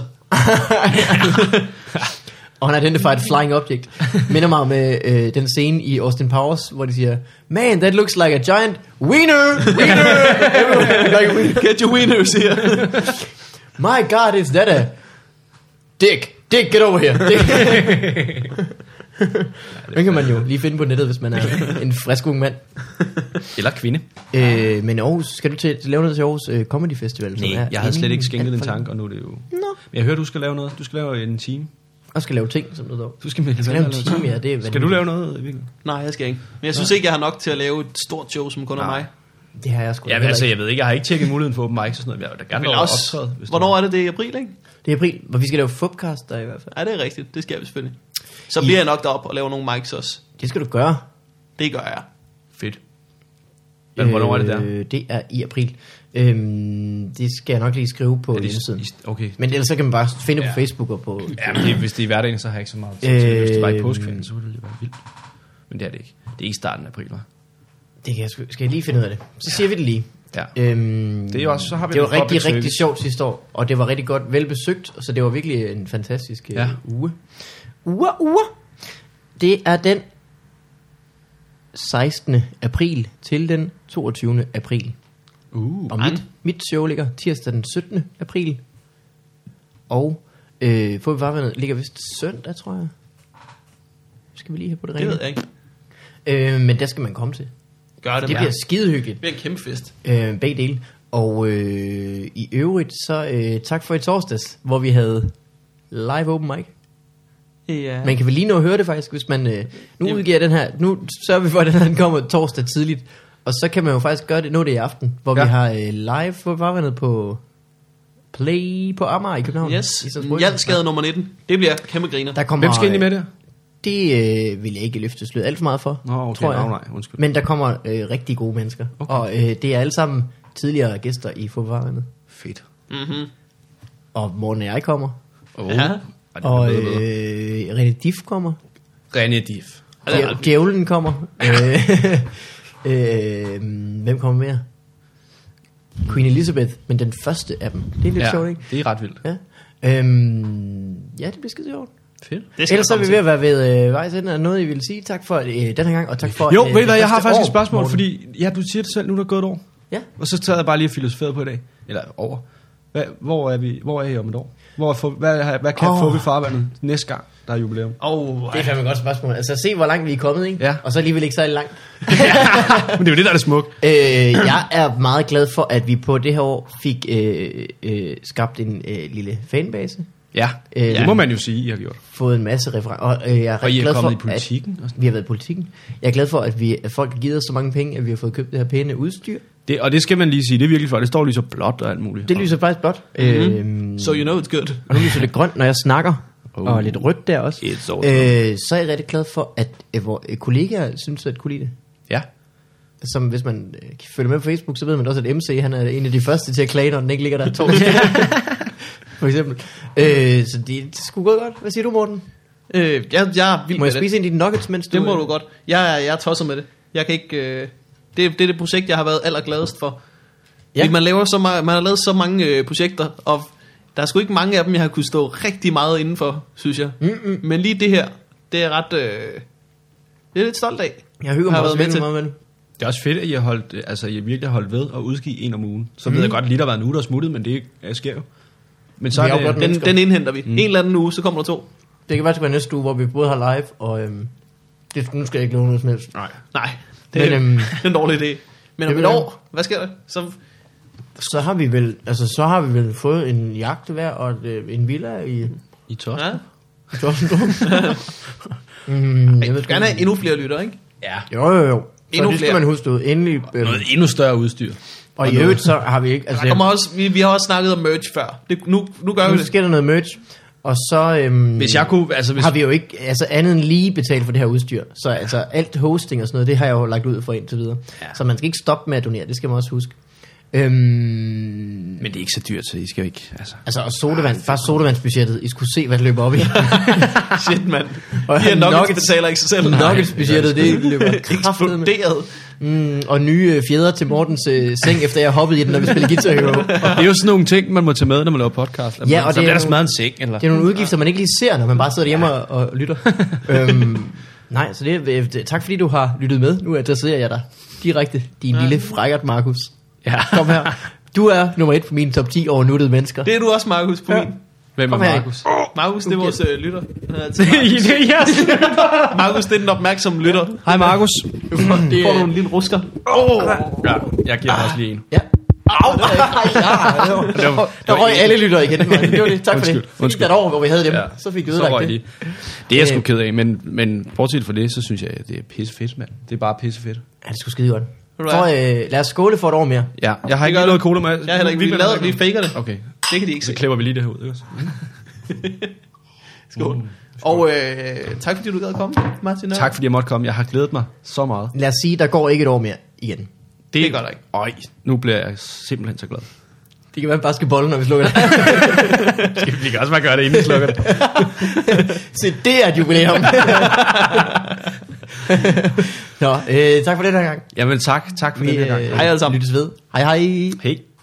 C: Og han identified flying object. Minder mig om øh, øh, den scene i Austin Powers, hvor de siger, Man, that looks like a giant wiener! Wiener! like a wiener.
A: Get your wieners here.
C: My God, is that a dick? Dick, get over here. Dick. Den kan man jo lige finde på nettet, hvis man er en frisk ung mand.
D: Eller kvinde.
C: Øh, men Aarhus, skal du til, til lave noget til Aarhus øh, Comedy Festival? som
D: Nej,
C: er
D: jeg havde slet
C: inden
D: ikke skænket
C: alt
D: den
C: for
D: tanke, og nu er det jo... Nå. Men jeg hører, du skal lave noget. Du skal lave en time.
C: længe. Og skal lave ting, som det hedder.
D: Du skal melde
C: Skal lave en time, ja, det er
D: Skal du lave noget, virkelig?
A: Nej, jeg skal ikke. Men jeg synes ikke, jeg har nok til at lave et stort show, som kun er mig.
C: Det har jeg sgu
D: Ja,
C: heller
D: altså,
C: ikke.
D: jeg ved ikke, jeg har ikke tjekket muligheden for open mics og sådan noget. Jeg vil da gerne
A: Men
D: lave
A: også,
D: optræde. hvis der-
A: hvornår er det det i april, ikke?
C: Det er april, hvor vi skal lave Fubcast der i hvert fald.
A: Ja, det er rigtigt. Det skal vi selvfølgelig. Så bliver jeg nok deroppe og laver nogle mics også.
C: Det skal du gøre.
A: Det gør jeg.
D: Fedt. Men hvornår er det der?
C: Øh, det er i april. Øhm, det skal jeg nok lige skrive på
D: Er det i-
C: hjemmesiden.
D: i- Okay.
C: Men ellers så kan man bare finde ja. på Facebook og på...
D: Ja, men det, er- hvis det er i hverdagen, så har jeg ikke så meget tid til det. Hvis det var i
C: Øhm.
D: påskeferien, så ville det jo være vildt. Men det er det ikke. Det er ikke starten af april, hva'?
C: Det kan jeg sgu, skal jeg lige finde ud af det. Så siger vi det lige.
D: Ja.
C: Øhm,
D: Det er jo også- så har vi
C: det var
D: noget public
C: rigtig, rigtig
D: service.
C: sjovt sidste år, og det var rigtig godt velbesøgt, så det var virkelig en fantastisk ja.
D: Ja.
C: uge. Uge, uge. Det er den 16. april til den 22. april.
D: Uh.
C: Og mit, mit show ligger tirsdag den 17. april. Og øh, får vi bare ligger vist søndag, tror jeg. Skal vi lige have på det
A: Det ved
C: rene?
A: jeg ikke.
C: Øh, men der skal man komme til.
A: Gør det,
C: Det
A: bare.
C: bliver skide hyggeligt.
A: det bliver en kæmpe fest.
C: Øh, begge dele. Og øh, i øvrigt, så øh, tak for i torsdags, hvor vi havde live open mic.
A: Ja.
C: Man kan vel lige nå at høre det faktisk, hvis man... Øh, nu
A: Jamen.
C: udgiver den her... Nu sørger vi for, at den her den kommer torsdag tidligt. Og så kan man jo faktisk gøre det... Nu er det i aften, hvor ja.
D: Ja.
C: vi har øh, live... Hvor var man nede på... Play på Amager i København.
A: Yes.
C: I Strasbourg.
A: Hjalskade nummer 19. Det bliver kæmpe griner.
C: Der kommer,
D: Hvem skal ind i med det?
C: Det øh, vil jeg ikke løfte sløret alt for meget for,
D: Nå, okay.
C: tror jeg.
D: Nå, nej, undskyld.
C: Men der kommer øh, rigtig gode mennesker. Okay. Og øh, det er alle sammen tidligere gæster i Fodboldvarerne.
D: Fedt.
A: Mm-hmm.
C: Og Morten og jeg kommer.
D: Oh.
A: Ja.
D: Og, det
C: Og
D: og,
C: øh,
D: øh,
C: René Diff kommer.
D: René Diff.
C: Djæv- Djævlen
D: [LAUGHS]
C: kommer. Øh, [LAUGHS] øh, hvem kommer mere? Queen Elizabeth, men den første af dem. Det er lidt ja. sjovt, ikke?
D: det er ret vildt.
C: Ja. Øhm, ja, det bliver skide sjovt.
D: Fedt.
A: Det skal
C: Ellers
A: der
C: er vi
A: komme
C: ved at være ved øh, vejs ende af noget, I vil sige. Tak for øh, den her gang, og tak for...
D: Jo,
C: øh,
D: ved I hvad,
C: det
D: jeg har
C: første
D: faktisk
C: år,
D: et spørgsmål,
C: Morten.
D: fordi ja, du siger det selv, nu er der gået et år.
C: Ja.
D: Og så tager jeg bare lige og filosoferet på i dag. Eller over. Hvad, hvor, er vi, hvor er I om et år? Hvor er, for, hvad, har- hvad kan
C: Åh.
D: oh. få vi farvandet næste gang, der er jubilæum?
A: Oh,
C: Det er fandme et godt spørgsmål. Altså, se hvor langt vi er kommet, ikke?
D: Ja.
C: Og så alligevel ikke særlig langt.
D: Men det er jo det, der er det smukke.
C: Øh, jeg er meget glad for, at vi på det her år fik øh, øh, skabt en øh, lille fanbase.
D: Ja,
C: Øh,
D: det må man jo sige, I har gjort.
C: fået en masse referencer. Og, øh, jeg er
D: Og I
C: rigtig
D: er
C: glad
D: kommet
C: for,
D: i politikken og
C: At,
D: sådan.
C: vi har været i politikken. Jeg er glad for, at, vi, at folk har givet os så mange penge, at vi har fået købt det her pæne udstyr.
D: Det, og det skal man lige sige, det er virkelig for, det står lige så blåt og alt muligt.
C: Det lyser faktisk blåt.
D: Mhm.
C: Mm-hmm. Øh,
A: So you know it's good.
C: og nu lyser det grønt, når jeg snakker. Oh. Og lidt rødt der også.
D: It's all
C: øh, så er jeg rigtig glad for, at øh, vores kollegaer synes at kunne lide det.
D: Ja.
C: Som hvis man øh, følger med på Facebook, så ved man også, at MC han er en af de første til at klage, når den ikke ligger der
A: [LAUGHS]
C: torsdag. [LAUGHS] for eksempel. Øh, så det, det skulle gå godt. Hvad siger du, Morten?
A: Øh, jeg, jeg er vild
C: Må
A: med det.
C: jeg spise en af dine nuggets, mens du...
A: Det må
C: øh,
A: du godt. Jeg, er- jeg er tosset med det. Jeg kan ikke... Øh, det, det er det projekt, jeg har været allergladest for.
C: Ja.
A: Ja. Man, laver så meget, man har lavet så mange øh, projekter, og der er sgu ikke mange af dem, jeg har kunnet stå rigtig meget indenfor, synes jeg. Mm-mm. Men lige det her, det er ret... Øh, det er lidt stolt af.
C: Jeg hygger mig
A: Har været
C: også med
A: med
C: til.
A: til.
C: Meget med det.
D: Det er også fedt, at I har holdt, øh, altså, I har virkelig har holdt ved at udgive en om ugen. Så mm. ved jeg godt, lige der var en uge, der er smuttet, men det øh, sker jo. Men så
C: Vi
D: er
C: er jo
D: det,
C: godt
D: godt
C: med-
A: Den,
D: den,
C: Mennesker.
A: den indhenter vi. Mm. En eller anden uge, så kommer der to.
C: Det kan faktisk være næste uge, hvor vi både har live og... Øhm, det, nu skal jeg ikke love noget som helst.
D: nej.
A: Nej, [LAUGHS] det er
C: Men, øhm,
A: men, en dårlig idé. Men om
C: det
A: et
C: vil jeg.
A: år, hvad sker der? Så
C: Så har vi vel, altså, så har vi vel fået en jagt hver og et, øh, en villa i,
D: I tør.
A: ja,
C: i Torstendum.
A: [LAUGHS]
C: mm, jeg
A: jeg
C: ved
A: vil
C: sgu
A: gerne have
C: ikke.
A: endnu flere lytter, ikke?
D: Ja.
C: Jo, jo, jo. Så
A: Endnu
C: det skal
A: flere.
C: man huske ud. Endelig. Øhm,
D: Noget endnu større udstyr.
C: og i øvrigt, så har vi ikke... Altså,
A: Der kommer også, vi, vi har også snakket om merch før. Det, nu, nu gør vi
C: nu
A: det.
C: sker der noget merch. Og så øhm,
D: Hvis jeg kunne, altså hvis...
C: har vi jo ikke altså andet end lige betalt for det her udstyr. Så altså alt hosting og sådan noget, det har jeg jo lagt ud for indtil videre. Ja. Så man skal ikke stoppe med at donere, det skal man også huske. Øhm,
D: Men det er ikke så dyrt, så I skal jo ikke, altså...
C: Altså, og sodavand, bare sodavandsbudgettet. I skulle se, hvad det løber op i.
A: Shit, mand.
C: Og [LAUGHS]
A: De her nuggets,
C: nuggets-
A: betaler ikke sig selv.
C: Nuggets-budgettet, det
A: [LAUGHS]
C: løber kraftedet med.
A: Eksploderet.
C: Mm, og nye øh, fjeder til Mortens øh, seng, efter jeg hoppede i den, når vi spillede Guitar Hero.
D: det er jo sådan nogle ting, man må tage med, når man laver podcast.
C: Ja, og
D: så
C: det er
D: bliver der
C: jo-
D: smadret en seng, eller...
C: Det er nogle udgifter, man ikke lige ser, når man bare sidder hjemme og, og lytter. øhm, nej, så det, er- øh, det, tak fordi du har lyttet med. Nu adresserer jeg dig direkte, din lille frækkert, Markus.
D: Ja.
C: Kom her. Du er nummer et på min top 10 over nuttede mennesker.
A: Det er du også, Markus, på ja. min.
D: Hvem er
C: Kom her.
D: Markus?
A: Markus, det er vores øh, lytter. Han er altid-
H: det er yes.
A: [LAUGHS] Markus, det er den opmærksomme lytter.
D: Hej Markus.
C: Det,
A: Får du en lille rusker?
D: Ja, jeg giver dig også lige en.
C: Ja. Au! Det var ikke- Ej, ja, det var- [LAUGHS] Der røg alle lytter igen. mand. Det var det. Tak for
D: Undskyld,
C: det. Fordi der år, hvor vi havde dem, så fik vi
D: så
C: ødelagt
D: røg
C: det.
D: de. Det er jeg sgu
C: Øh.
D: ked af, men, men bortset fra det, så synes jeg, at det er pissefedt, mand. Det er bare pissefedt.
C: Ja, det skulle skide godt.
A: du
C: Så øh, lad os skåle for et år mere.
D: Ja, jeg har ikke noget cola med.
A: Jeg har heller ikke. Vi, lader, vi faker det.
D: Okay,
A: Det kan de ikke se.
D: så klipper vi lige det her ud, ikke også?
A: Skål. Og øh, tak fordi du gad at komme, Martin.
D: Tak fordi jeg måtte komme. Jeg har glædet mig så meget.
C: Lad os sige, der går ikke et år mere igen.
A: Det er godt ikke.
D: Øj, nu bliver jeg simpelthen så glad.
C: Det kan være, at vi bare skal bolle, når vi slukker
D: [LAUGHS]
C: det.
D: Vi kan også bare gøre det, inden vi slukker det.
C: [LAUGHS] Se, det er et
D: [LAUGHS]
C: jubilæum. Nå, øh, tak for den her gang.
D: Jamen tak, tak for
C: Vi
D: den her gang.
C: øh, hej alle sammen. lyttes øh, ved. Hej hej.
D: Hej.